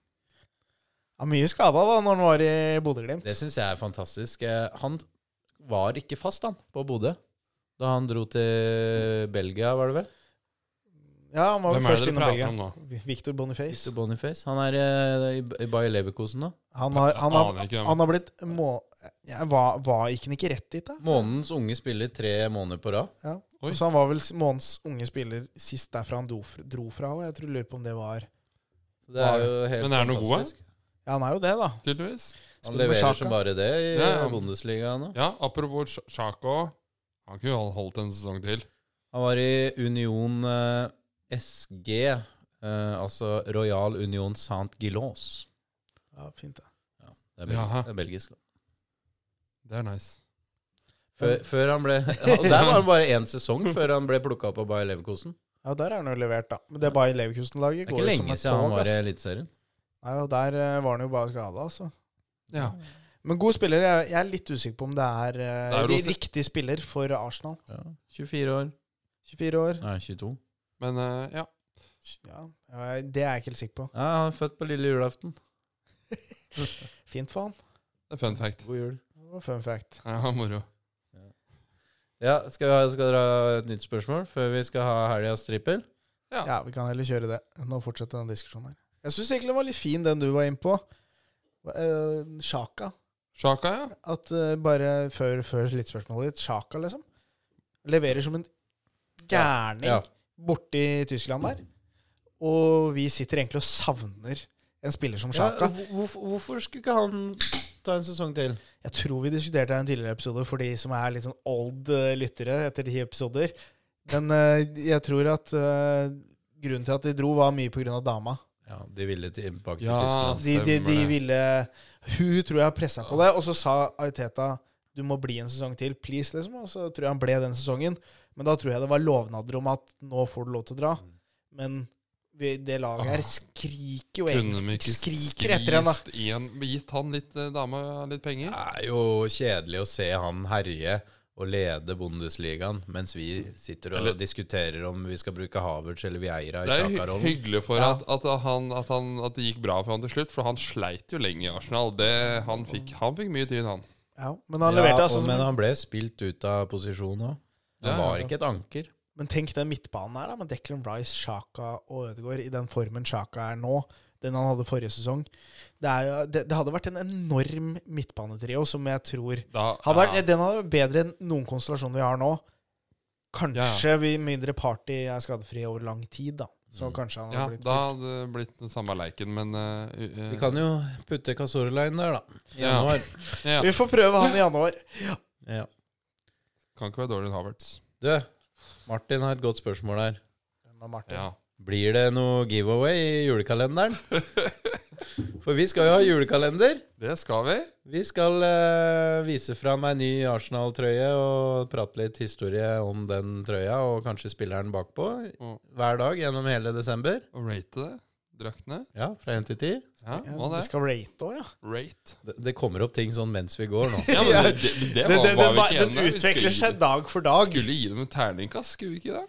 D: Ja, mye skada da, når han var i Bodø-Glimt.
C: Det syns jeg er fantastisk. Eh, Han var ikke fast, han, på Bodø. Da han dro til Belgia, var det vel?
D: Ja, han var
A: Hvem
D: vel
A: er det
D: først
A: dere
D: innom
A: prater
D: Belgia.
A: om nå?
D: Victor Boniface.
C: Victor Boniface. Han er eh, i, i Bayer Leverkusen nå.
D: Han har, han har,
A: Aner ikke hvem.
D: han har blitt må... Ja, var, var ikke han ikke rett dit, da?
C: Månedens unge spiller tre måneder på rad.
D: Ja.
A: Oi.
D: Og så han var vel s- månedens unge spiller sist derfra han dro, fr- dro fra. Og jeg tror lurer på om det var
C: Så det er jo helt
A: Men er han noe god,
C: fantastisk.
D: Ja, han er jo det, da.
A: Tydeligvis.
C: Han
D: Spiller med Xhaka.
C: leverer som bare det i
A: Ja, ja.
C: Bundesliga nå.
A: Ja, apropos Sjako. Han kunne jo holdt en sesong til.
C: Han var i Union eh, SG, eh, altså Royal Union Saint-Gilloise.
D: Ja, fint det.
C: Det, er bel-
A: Jaha.
C: det er belgisk. da.
A: Det er nice.
C: Før, før han ble Og Der var han bare én sesong før han ble plukka opp av Bayer Leverkusen.
D: Ja, der er han jo levert, da. Men det er bare i Leverkusen-laget.
C: Det er ikke lenge siden han var i Eliteserien.
D: Nei, og der eh, var han jo bare skada, altså.
A: Ja.
D: Men god spiller. Jeg, jeg er litt usikker på om det er, eh,
A: Det er jo
D: ri-
A: Rose-
D: riktig spiller for Arsenal.
C: Ja. 24 år.
D: 24 år.
C: Nei, 22.
A: Men eh, ja.
D: Ja, eh, Det er jeg ikke helt sikker på.
C: Ja, han er født på lille julaften.
D: Fint for han.
A: Det er fun fact.
C: God jul.
D: Det var fun fact.
A: Ja, moro.
C: Ja, skal, vi ha, skal dere ha et nytt spørsmål før vi skal ha helgas trippel?
A: Ja.
D: Ja, vi kan heller kjøre det. Nå fortsetter den diskusjonen her. Jeg syns egentlig den var litt fin, den du var inne på. Eh, Sjaka.
A: Sjaka, ja.
D: At eh, bare før, før lyttspørsmålet ditt, Sjaka liksom leverer som en gærning
C: Ja.
D: borti Tyskland der. Og vi sitter egentlig og savner en spiller som Sjaka.
C: hvorfor, skulle ikke han ta en sesong til?
D: Jeg tror vi diskuterte det i en tidligere episode for de som er litt sånn old eh, lyttere etter de episoder. Men eh, jeg tror at eh, grunnen til at de dro, var mye pga. dama.
C: Ja, de ville tilbake til
A: Ja.
C: Tyskland.
D: De, de, de
A: Stemmer det.
D: ville Hun tror jeg pressa på det, og så sa Ariteta du må bli en sesong til, please, liksom. Og så tror jeg han ble den sesongen. Men da tror jeg det var lovnader om at nå får du lov til å
A: Mm.
D: dra. Men vi, det laget her skriker jo
A: Kunne vi
D: egentlig
A: ikke
D: Skriker etter henne, da.
A: skvist en Gitt han litt eh, dame litt penger?
C: Det er jo kjedelig å se han herje og lede Bundesligaen mens vi sitter og
A: Eller-
C: diskuterer om vi skal bruke Havertz eller Vieira
A: Det
C: i
A: er jo hy-
C: Chakarollen.
A: hyggelig for at, at, han, at, han, at det gikk bra for han til slutt, for han sleit jo lenge i Arsenal. Det, han, fikk, han fikk mye tyn, han.
D: Ja, men han leverte
C: Ja,
D: altså
C: og-
D: som
C: men han ble spilt ut av posisjon òg. Han
A: Ja,
C: var
A: ja.
C: ikke et anker.
D: Men tenk den midtbanen her, da, med Declan Rice, Sjaka og Ødegaard i den formen Sjaka er nå. Den han hadde forrige sesong. Det, er, jo- det, det hadde vært en enorm midtbanetrio som jeg tror
A: Da-
D: hadde vært,
A: ja.
D: Den hadde vært bedre enn noen konstellasjoner vi har nå. Kanskje vi mindre party er skadefrie over lang tid, da. Så kanskje
A: Mm.
D: han
A: ja,
D: hadde blitt
A: da hadde det blitt den samme leiken, men eh, u- eh,
C: Vi kan jo putte Cazorla inn der, da. I
A: Ja.
C: januar.
A: ja,
D: Vi får prøve han i januar.
C: Ja.
A: kan ikke være dårligere enn Havertz.
C: Du, Martin har et godt spørsmål her.
D: Hvem er Martin?
A: Ja.
C: Blir det noe giveaway i julekalenderen? For vi skal jo ha julekalender.
A: Det skal vi.
C: Vi skal eh, vise fram ei ny Arsenal-trøye og prate litt historie om den trøya, og kanskje spilleren bakpå,
A: Og,
C: hver dag gjennom hele desember.
A: og rate det. Draktene.
C: Ja, fra 1 til 10.
A: Ja,
D: Ja,
A: må
D: vi
A: det.
D: skal rate òg, ja.
A: Rate.
C: Det, det kommer opp ting sånn mens vi går nå.
A: Ja, men det, det, det
D: Den,
A: var,
D: den,
A: var
D: den,
A: vi ikke enige
D: den,
A: om. Vi
D: utvikler
A: skulle-
D: seg dag for dag.
A: Skulle gi dem en terningkast, skulle vi ikke det?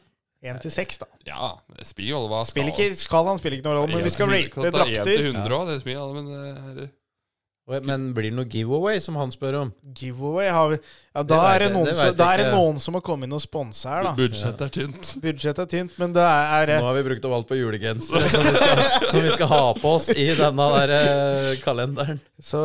D: Én til seks, da.
A: Ja, det spiller jo alle hva
D: Spiller ikke, skal han spille ikke noen rolle, men vi skal rate
A: Til
D: drakter.
A: 100 også, det spiller alle, men eh, det er,
C: Og- Men blir det noe giveaway, som han spør om?
D: Giveaway har vi Ja, da
C: vet
D: er det
C: jeg-
D: noen,
C: det
D: som,
C: vet
D: da
C: jeg
D: er det
C: ikke.
D: noen som har kommet inn og sponset her, da.
A: budsjettet er tynt.
D: Budsjettet er tynt, men det er,
C: Nå
D: er
C: har vi brukt opp alt på julegensere som, vi skal- som vi skal ha på oss i denne der eh, kalenderen.
D: Så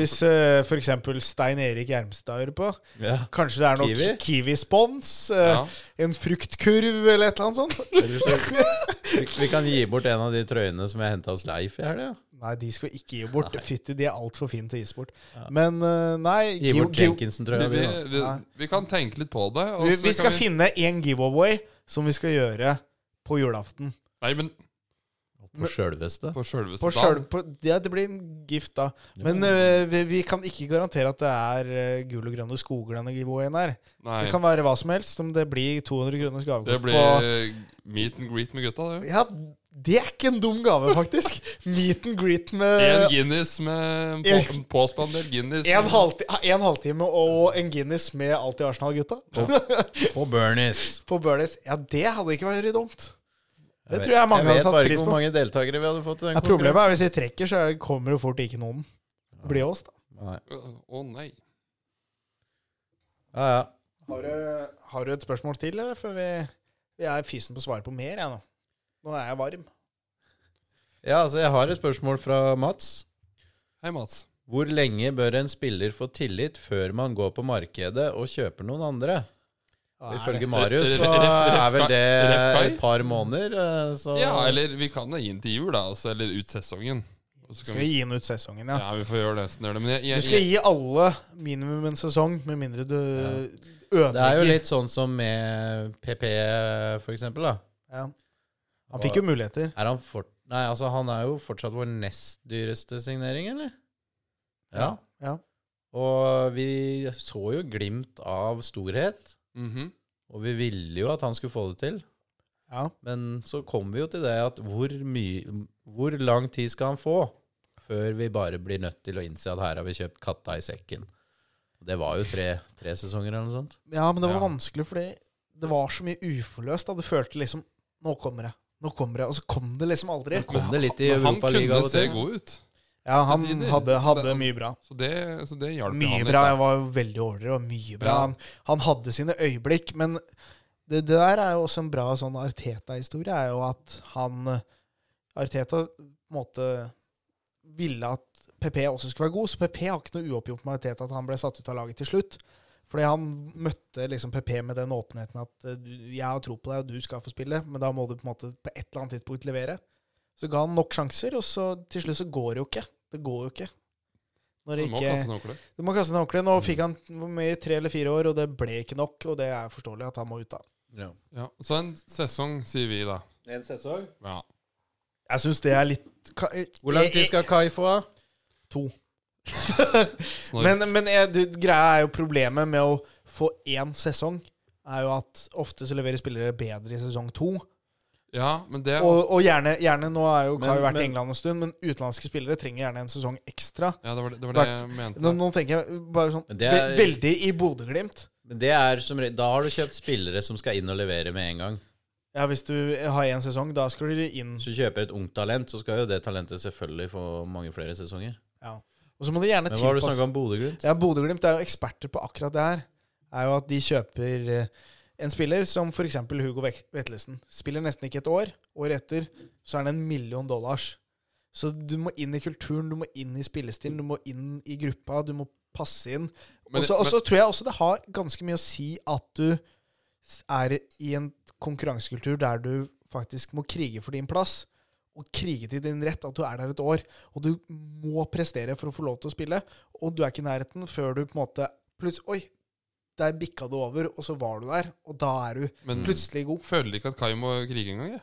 D: hvis eh, for f.eks. Stein Erik Gjermstad hører på,
C: Ja.
D: kanskje det er noe
C: Kiwi?
D: ki- Kiwi-spons? eh,
A: Ja.
D: En fruktkurv eller et eller annet sånt?
C: Ellers så- Vi, vi kan gi bort en av de trøyene som jeg henta hos Leif i helga.
D: Nei, de skal vi ikke gi bort. Fytti, de er altfor fine til å gi bort. Men eh, nei
C: Gi
D: give-
C: bort
D: give-
A: Vi,
C: Jenkinson-trøya.
A: vi,
C: Vi, da.
A: vi, vi kan tenke litt på det. og
D: vi,
A: så
D: vi
A: kan
D: skal finne én giveaway som vi skal gjøre på julaften.
A: Nei, men
C: på sjølveste.
A: på sjølveste
D: På
A: dagen.
D: sjøl- på, ja, det blir en gift, da. Men øh, vi, vi kan ikke garantere at det er øh, gul og grønne skoger denne giveawayen er. Det
A: Nei,
D: kan være hva som helst, om det blir 200 kroners
A: det
D: gavekort
A: blir
D: på
A: meet and greet med gutta, det.
D: Ja, det er ikke en dum gave, faktisk. Meet and greet
A: En
D: med
A: Guinness med en på, en påspandert Guinness.
D: en, halvti en halvtime og en Guinness med alt i Arsenal-gutta
C: På Bernies.
D: på Burleys. Ja, det hadde ikke vært dumt. Det tror jeg mange
C: jeg
D: hadde
C: vet
D: satt
C: bare ikke
D: pris
C: hvor
D: på.
C: mange deltakere vi hadde fått. i den
D: Ja, problemet er hvis vi trekker, så er- kommer det fort ikke noen. Det blir oss, da.
C: konkurransen. Nei.
A: Å nei.
C: Ja, ja.
D: Har du, har du et spørsmål til, eller? For vi, vi er fysen på å svare på mer, jeg nå. Nå er jeg varm.
C: ja, altså, jeg har et spørsmål fra Mats.
A: Hei, Mats.
C: Hvor lenge bør en spiller få tillit før man går på markedet og kjøper noen andre? Ifølge Marius
A: Ref-
C: så
A: ref- ref-
C: er vel det
A: ref-
C: et par måneder. eh, Så
A: Ja, eller vi kan da gi den til jul, da. Altså, eller ut sesongen. Og så kan
D: Du skal
A: vi,
D: gi den ut sesongen, ja.
A: ja, vi får gjøre det. nesten gjøre det. Men jeg,
D: Du
A: jeg,
D: skal
A: jeg,
D: gi alle minimum en sesong, med mindre du
C: Det er jo
D: ødelegger.
C: litt sånn som med PP, for eksempel. Da.
D: Ja. Han fikk jo muligheter.
C: Er han, fort, nei, altså, han er jo fortsatt vår nest dyreste signering, eller? Ja.
D: Ja.
C: Og vi så jo glimt av storhet,
A: Mhm.
C: og vi ville jo at han skulle få det til.
D: ja.
C: Men så kom vi jo til det at hvor, mye, hvor lang tid skal han få før vi bare blir nødt til å innse at her har vi kjøpt katta i sekken? Det var jo tre, tre sesonger eller noe sånt.
D: Ja, men det var
C: Ja.
D: vanskelig, fordi det var så mye uforløst. Da. Det følte liksom Nå kommer det. Nå kommer det. Og så kom det liksom aldri.
C: Kom det litt i
A: Men han
C: Europaligaen
A: kunne
C: av og
A: se
C: til?
A: god ut,
D: Ja, han
A: til tider. Så
D: hadde,
A: det-
D: hadde mye bra.
A: så det, så det hjalp jo
D: Mye
A: han litt.
D: bra.
A: da.
D: Jeg var jo veldig overdrevet. og Mye bra.
A: Ja.
D: Han, han hadde sine øyeblikk, men det, det der er jo også en bra sånn Arteta-historie, er jo at han eh, Arteta på en måte ville at PP også skulle være god, så PP har ikke noe uoppgjort med Arteta at han ble satt ut av laget til slutt. Fordi han møtte liksom PP med den åpenheten at eh, du- jeg har tro på deg, og du skal få spille, men da må du på en måte på et eller annet tidspunkt levere. Så ga han nok sjanser, og så til slutt så går det jo ikke. Det går jo ikke. Når det
A: Han må
D: ikke
A: kaste en håndkle.
D: du må kaste den ordentlig. Nå fikk han hvor mye, tre eller fire år, og det ble ikke nok. Og det er forståelig at han må ut av.
C: Ja.
A: Ja, så en sesong, sier vi da.
C: En sesong?
A: Ja.
D: Jeg syns det er litt ka-
C: Hvor lang tid skal Kai få?
D: To.
A: Snork.
D: Men, men jeg, du, greia er jo problemet med å få én sesong, er jo at ofte så leverer spillere bedre i sesong to.
A: ja, men det
D: Og, og gjerne, gjerne Nå har jo Kai
C: Men-
D: vært
C: men-
D: i England en stund, men utenlandske spillere trenger gjerne en sesong ekstra.
A: Ja, det var det, det, var det jeg mente.
D: Nå, nå tenker jeg bare sånn
C: Men det er-
D: ve- Veldig i Bodø-Glimt.
C: Men det er som, re- da har du kjøpt spillere som skal inn og levere med en gang.
D: Ja, hvis du har én sesong, da skal du inn.
C: Hvis du kjøper et ungt talent, så skal jo det talentet selvfølgelig få mange flere sesonger.
D: Ja. Og så må du gjerne
C: Men hva har du
D: tilpasse
C: snakka om Bodø-Glimt?
D: Ja, Bodø-Glimt er jo eksperter på akkurat det her. Er jo at de kjøper eh, en spiller som f.eks. Hugo Vek- Vetlesen. Spiller nesten ikke et år. Året etter så er det en million dollars. Så du må inn i kulturen, du må inn i spillestilen, du må inn i gruppa, du må passe inn.
A: Men-
D: Og så og så tror jeg også det har ganske mye å si at du s- er i en konkurransekultur der du faktisk må krige for din plass. Og krige til din rett, at du er der et år. Og du må prestere for å få lov til å spille. Og du er ikke i nærheten før du på en måte plutselig Oi, der bikka det over, og så var du der. Og da er du
A: Men
D: plutselig god.
A: føler ikke at Kai må krige engang, jeg.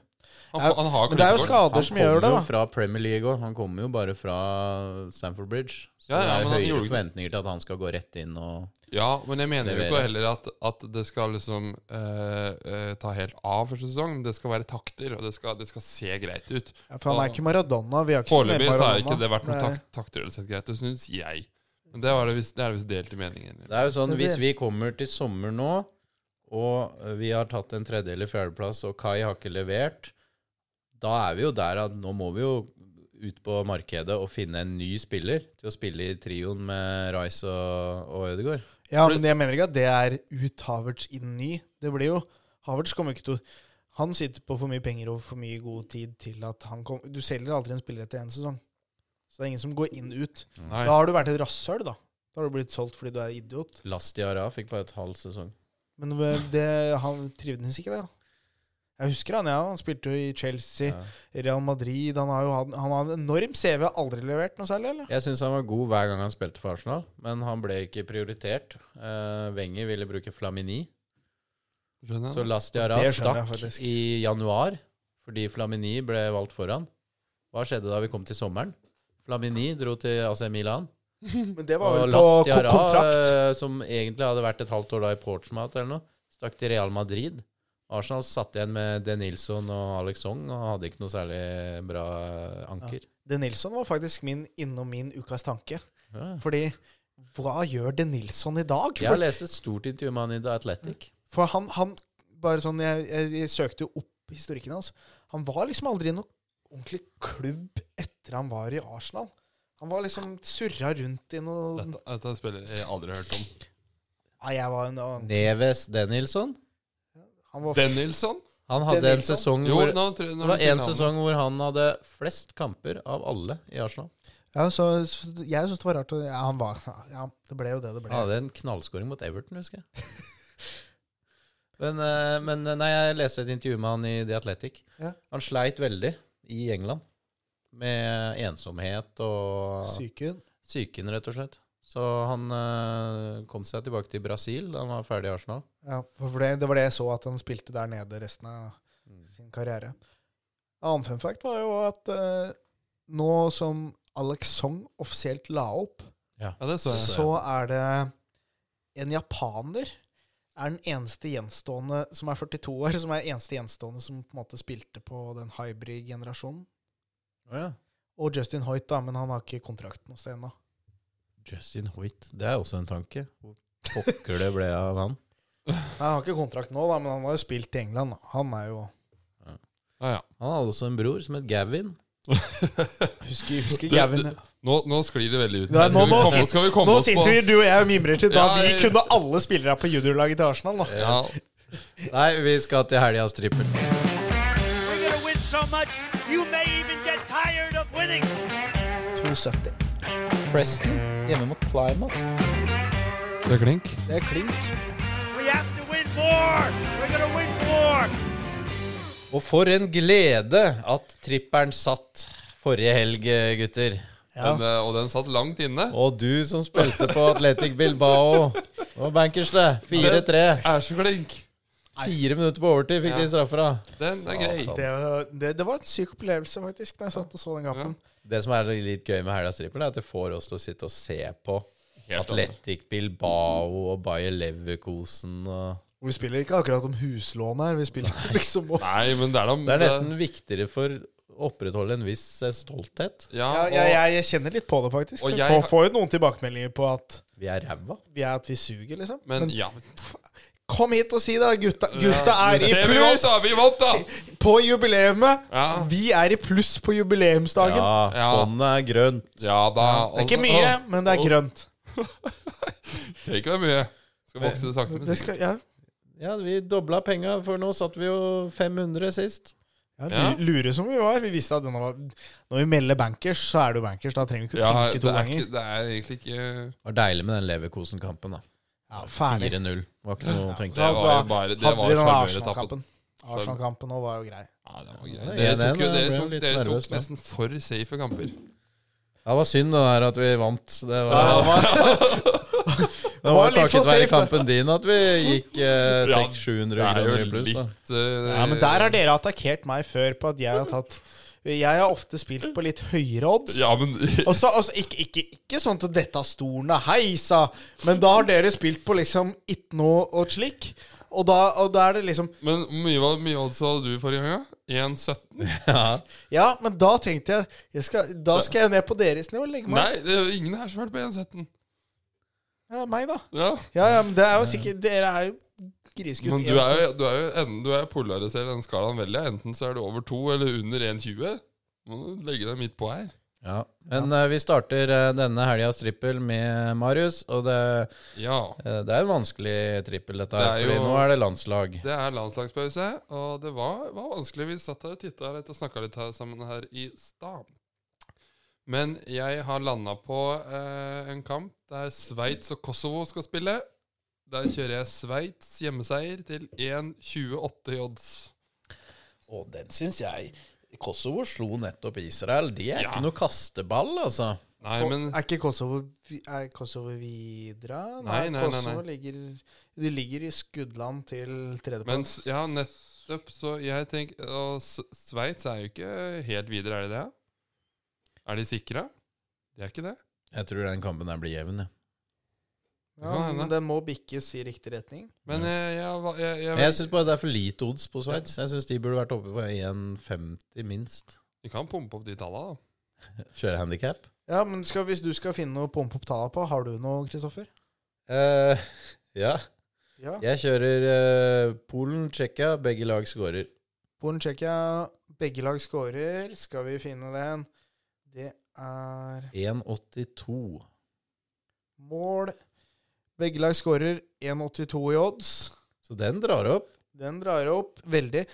A: Han,
D: Ja,
A: får- han har
D: Men det er jo
A: klubbkort.
D: skader som gjør det,
C: jo
D: da.
C: fra Premier League òg. Han kommer jo bare fra Stamford Bridge. Så
A: Ja, ja, men
C: det
A: han
C: er
A: gjorde
C: høyere
A: ikke-
C: forventninger til at han skal gå rett inn og
A: Ja, men jeg mener jo
C: Leverer.
A: ikke heller at, at det skal liksom eh, eh, ta helt av første sesong. men Det skal være takter, og det skal, det skal se greit ut.
D: Ja, for han er ikke Maradona. Vi har ikke
A: Foreløpig så har
D: Maradona.
A: ikke det vært noen
D: Nei.
A: tak takter eller sett greit ut, syns jeg. Men det, var det, visst- det er det visst delte meninger.
C: Det er jo sånn,
D: Det er
C: hvis
D: det.
C: vi kommer til sommer nå, og eh, vi har tatt en tredje- eller fjerdeplass, og Kai har ikke levert, da er vi jo der at nå må vi jo ut på markedet og finne en ny spiller til å spille i trioen med Rice og, og Ødegaard.
D: Ja, men jeg mener ikke at det er ut Havertz inn ny. Det blir jo Havertz kommer ikke til å Han sitter på for mye penger og for mye god tid til at han kom Du selger aldri en spiller etter én sesong. Så det er ingen som går inn ut.
A: Nei.
D: Da har du vært et rasshøl, da. Da har du blitt solgt fordi du er idiot.
C: Lastiara fikk bare et halv sesong.
D: Men det, han trivdes ikke, det. da. Jeg husker han, ja. Han spilte jo i Chelsea,
C: Ja.
D: Real Madrid Han har jo hatt han har en enorm CV. Aldri levert noe særlig, eller?
C: Jeg syns han var god hver gang han spilte for Arsenal, men han ble ikke prioritert. Eh, Wenger ville bruke Flamini.
A: Skjønner
C: Så
A: jeg?
C: Lastiara
D: Det skjønner jeg
C: stakk
D: faktisk.
C: i januar fordi Flamini ble valgt foran. Hva skjedde da vi kom til sommeren? Flamini dro til AC Milan.
D: Men det var
C: Mm. Og
D: vel på ko-
C: Lastiara,
D: kontrakt.
C: eh, som egentlig hadde vært et halvt år da i Portsmouth eller noe, stakk til Real Madrid. Arsenal satt igjen med Denilson og Alex Song og hadde ikke noe særlig bra anker.
D: Det Nilsson var faktisk min innom min ukas tanke.
C: Ja.
D: Fordi hva gjør det Nilsson i dag?
C: Jeg har
D: For,
C: lest et stort intervju med han i The Athletic.
D: for han, han bare sånn, jeg, jeg, jeg søkte jo opp historikken hans. Han var liksom aldri i noen ordentlig klubb etter han var i Arsenal. Han var liksom surra rundt i noe
A: Dette, dette spiller jeg aldri har hørt om.
D: Nei, jeg var en
C: Neves Denilson.
D: Han var
A: Dennilson?
C: Han hadde en
D: Denilson?
C: sesong
A: Jo,
C: hvor
A: nå, tror jeg- nå
C: Det
A: må
C: var
A: jeg si
C: en
A: navnet.
C: sesong hvor han hadde flest kamper av alle i Arsenal.
D: ja, så, så Jeg syns det var rart. å- Ja, han var Ja, det ble jo det det
C: Han
D: ble.
C: hadde en knallskåring mot Everton, husker jeg. Men, eh, men eh, nei, jeg leste et intervju med han i The Athletic.
D: Ja.
C: Han sleit veldig i England med ensomhet og
D: Syken.
C: psyken, rett og slett. Så han eh, kom seg tilbake til Brasil da han var ferdig i Arsenal.
D: Ja, for det, det var det jeg så at han spilte der nede resten av
A: Mm.
D: sin karriere. En annen fun fact var jo at eh, nå som Alex Song offisielt la opp,
A: Ja, det så
D: så,
A: jeg.
D: er det en japaner er den eneste gjenstående som er 42 år, som er eneste gjenstående som på en måte spilte på den hybrid-generasjonen.
C: Å ja.
D: Og Justin Hoit, da, men han har ikke kontrakt noe sted ennå.
C: Justin Hoit. Det er også en tanke. Hvor pokker det ble av han.
D: Nei, Han har ikke kontrakt nå, da, men han har jo spilt i England. Da. Han er jo
A: Ja, ja.
C: Han hadde også en bror som het Gavin.
D: Husker, husker
A: Du-
D: Gavin
A: du- Nå, nå sklir det veldig ut.
D: Nei,
A: skal,
D: nå-
A: vi
D: nå
A: komme,
D: sit-
A: skal vi komme
D: Nå
A: oss på
D: sitter vi, du og jeg, og mimrer til da.
A: Ja,
D: vi
A: jeg-
D: kunne alle spillere på juniorlaget til Arsenal. Da.
A: ja,
C: Nei, vi skal til helgas trippel.
F: We're going to win so much, you may even get tired of winning.
D: 2,70.
C: Preston hjemme mot Plymouth.
A: Det er klink.
D: Det er klink.
F: We have to win more. We're going to win more.
C: Og for en glede at tripperen satt forrige helg, gutter.
D: Ja.
A: Den, eh, og den satt langt inne.
C: Og du som spilte på Atletic Bilbao. Og bankers, det. 4-3.
A: Er så klink.
C: Fire minutter på overtid fikk
A: Ja.
C: de straffer av.
A: Den er grei.
D: Det, var- det, det var en syk opplevelse, faktisk, da jeg satt og så den kampen.
C: Det som er litt gøy med Hellas trippel, er at det får oss til å sitte og se på
A: Helt
C: Atletic Bilbao og Bayer Leverkosen og
D: Vi spiller ikke akkurat om huslån her. Vi spiller liksom om
A: Nei, men det er da
C: Det er nesten viktigere for å opprettholde en viss eh, stolthet.
A: Ja,
D: ja,
A: og,
D: ja, jeg, jeg kjenner litt på det, faktisk.
A: Og
D: Jeg,
A: jeg-
D: får, får jo noen tilbakemeldinger på at
C: Vi er ræva.
D: vi, er at vi suger, liksom.
A: Men ja.
D: Kom hit og si det, gutta, gutta er i
A: Se, vi vant,
D: pluss!
A: da! Vi vant, da!
D: På jubileet!
A: Ja.
D: Vi er i pluss på jubileumsdagen.
C: Ja,
A: Ja.
C: fondet er grønt.
A: Ja da.
D: Det er
A: Altså,
D: ikke mye, men det er grønt.
A: Trenger ikke være mye. Skal vokse sakte, men
D: Det
A: sikkert.
D: skal, ja.
C: Ja, vi dobla penga, for nå satt vi jo 500 sist.
D: Ja,
A: Ja.
D: lu- Lure som vi var. Vi visste at denne var Når vi melder bankers, så er det jo bankers. Da trenger vi ikke
A: Ja,
D: tenke
A: det
D: to
A: er,
D: ganger.
A: ikke, det er egentlig ikke
C: Det var deilig med den Leverkosen-kampen, da.
D: Ja, ferdig.
C: 4-0. Var ikke noe å tenke
A: Det
C: på.
A: var jo bare Det
D: Hadde
A: var
D: vi den
A: sjarmøretappen.
D: Arsenal-kampen. Arsenal-kampen òg var jo grei.
A: Ja, det var
C: Ja,
A: greit. Dere
C: det-
A: tok, jo,
C: det
A: dere
C: ble
A: tok,
C: litt
A: dere
C: nervøs
A: tok
C: da.
A: nesten for safe kamper.
C: Ja, det var synd det der at vi vant. Det var,
D: Ja, det
C: det var
D: litt for
C: takket være
D: safe, da.
C: kampen din at vi gikk eh,
A: Ja,
C: 600-700
A: Det er jo
C: kroner i pluss. da.
A: litt eh,
D: Ja, men der har dere attakkert meg før på at jeg har tatt Jeg har ofte spilt på litt høyere odds.
A: Ja, men
D: Og så- altså, ikke, ikke, ikke sånn til dette av stolen og heisa, men da har dere spilt på liksom ikke noe og slik. Og da, og da er det liksom
A: Men hvor mye, var- mye odds hadde du forrige gang? ja? 1,17?
D: Ja, men da tenkte jeg, jeg skal, Da skal jeg ned på deres nivå og legge meg.
A: Nei, det er jo ingen her som har vært på 1,17.
D: Ja, meg, da.
A: Ja.
D: Ja, ja, men det er jo sikkert Dere er jo grisekutt.
A: Men du er jo, du er jo en- du er polariserer den skalaen veldig. Enten så er du over 2 eller under 1,20. Må du legge deg midt på her.
C: Ja. Men eh, vi starter eh, denne helgas trippel med Marius, og det,
A: Ja.
C: eh, det er en vanskelig trippel, dette her.
A: Det er
C: For
A: jo-
C: nå er det landslag.
A: Det er landslagspause, og det var, var vanskelig. Vi satt her og titta litt og snakka litt her sammen her i stad. Men jeg har landa på eh, en kamp der Sveits og Kosovo skal spille. Der kjører jeg Sveits hjemmeseier til 1,28 i odds.
C: Og den syns jeg Kosovo slo nettopp Israel. De er
A: Ja.
C: ikke noe kasteball, altså.
A: Nei, men
D: Er ikke Kosovo, vi- er Kosovo videre?
A: Nei, nei, nei, nei.
D: Kosovo ligger, de ligger i skuddland til
A: Men
D: tredjeplass.
A: s- ja, nettopp, så jeg tenker Og S- Sveits er jo ikke helt videre, er de det? Er de sikra? De er ikke det?
C: Jeg tror den kampen der blir jevn. Ja.
A: det kan
D: Ja,
A: hende.
D: men det må bikkes i riktig retning.
A: Men jeg, jeg, var- jeg, jeg,
C: Men Jeg syns bare det er for lite odds på Sveits. Jeg syns de burde vært oppe på 1,50 minst.
A: Vi kan pumpe opp de tallene, da.
C: Kjøre handikap.
D: Ja, men skal, Hvis du skal finne noe å pumpe opp tallene på, har du noe, Kristoffer?
C: Eh, ja.
D: Ja.
C: Jeg kjører eh, Polen, Tsjekkia. Begge lag skårer.
D: Polen, Tsjekkia, begge lag scorer. Skal vi finne den? Det er
C: 1,82.
D: mål. Begge lag scorer 1,82 i odds.
C: Så den drar opp.
D: Den drar opp veldig.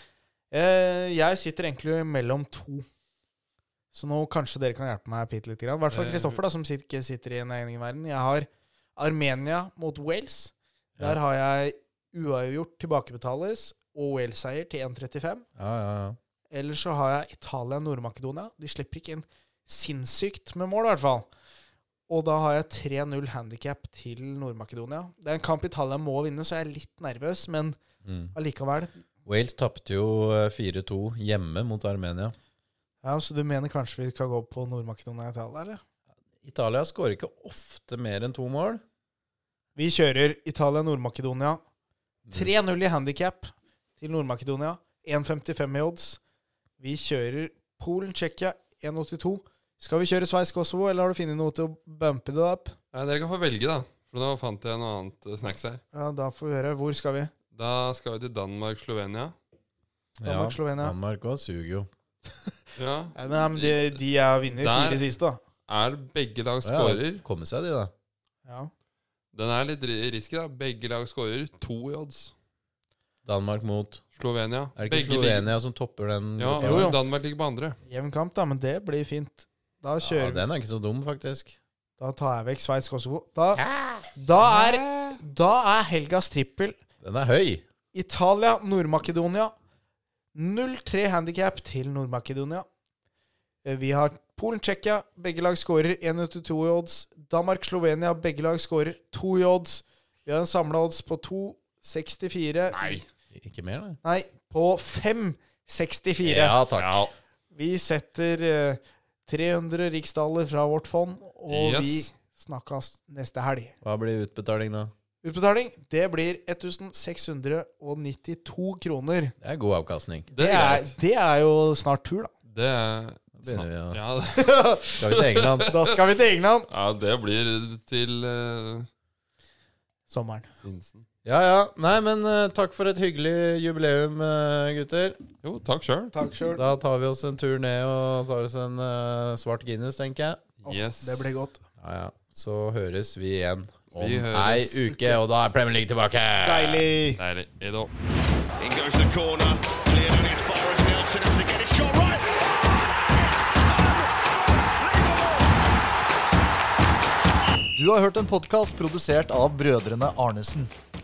D: Eh, jeg sitter egentlig mellom to. Så nå kanskje dere kan hjelpe meg bitte lite grann. I hvert fall
A: Eh,
D: Kristoffer, da, som sit- ikke sitter i en egen verden. Jeg har Armenia mot Wales.
C: Ja.
D: Der har jeg uavgjort tilbakebetales og Wales-seier til 1,35.
C: Ja, ja, ja.
D: Ellers så har jeg Italia og Nord-Makedonia. De slipper ikke inn sinnssykt med mål, i hvert fall. Og da har jeg 3-0 handikap til Nord-Makedonia. Det er en kamp Italia må vinne, så jeg er litt nervøs, men
C: Mm.
D: allikevel.
C: Wales tapte jo eh, 4-2 hjemme mot Armenia.
D: Ja, Så du mener kanskje vi kan gå på Nord-Makedonia og Italia, eller?
C: Italia skårer ikke ofte mer enn to mål.
D: Vi kjører Italia-Nord-Makedonia. 3-0 i handikap til Nord-Makedonia. 1,55 i odds. Vi kjører Polen-Tsjekkia 1,82. Skal vi kjøre Sveits-Kosovo, eller har du funnet noe til å bumpe det opp?
A: Nei, dere kan få velge, da. For nå fant jeg noe annet eh, snacks her.
D: Ja, da får vi høre. Hvor skal vi?
A: Da skal vi til Danmark-Slovenia.
D: Danmark, Slovenia.
C: Danmark òg suger jo.
A: Ja.
D: Nei, men de, de er vinner
A: Der-
D: fire siste, da.
A: Er begge lag
C: Ja,
A: scorer?
C: Komme seg, de, da.
D: Ja.
A: Den er litt ri- risky, da. Begge lag scorer to i odds.
C: Danmark mot
A: Slovenia.
C: Er det ikke
A: Begge ligger-
C: Slovenia som topper den?
A: Ja,
C: gruppa?
A: jo, Danmark ligger på andre.
D: Jevn kamp, da, men det blir fint. Da
C: Ja,
D: kjører vi.
C: den er ikke så dum, faktisk.
D: Da tar jeg vekk Sveits-Kosovo. Da, da, er, da er helgas trippel
C: Den er høy.
D: Italia, Nord-Makedonia. 0-3 handikap til Nord-Makedonia. Eh, Vi har Polen-Tsjekkia, begge lag skårer 1-2 i odds. Danmark-Slovenia, begge lag skårer 2 i odds. Vi har en samla odds på 2,64. Nei!
C: Ikke mer, nei.
D: Nei, på 5,64.
C: Ja takk.
D: Vi setter eh, 300 riksdaler fra vårt fond, og
A: Yes.
D: vi snakkes neste helg.
C: Hva blir utbetaling da?
D: Utbetaling det blir 1692 kroner.
C: Det er god avkastning.
A: Det er greit.
D: det er jo snart tur, da.
A: Det er
C: Begynner vi å-
A: Ja,
C: Skal vi til England?
D: Da skal vi til England.
A: ja det blir til eh,
D: Sommeren.
A: Sinsen.
C: Ja ja. Nei, men eh, takk for et hyggelig jubileum, eh, gutter.
A: Jo, takk sjøl.
D: Takk sjøl.
C: Da tar vi oss en tur ned og tar oss en eh, svart Guinness, tenker jeg.
A: Yes.
D: Det ble godt.
C: Ja, ja. Så høres vi igjen om
A: Vi
C: ei
A: høres.
C: uke, og da er Premier League tilbake!
D: Deilig.
A: Deilig. Hei da.
E: In goes the corner. Cleared and it's Forrest Nelson has to get it shot right.
G: Du har hørt en podkast produsert av brødrene Arnesen.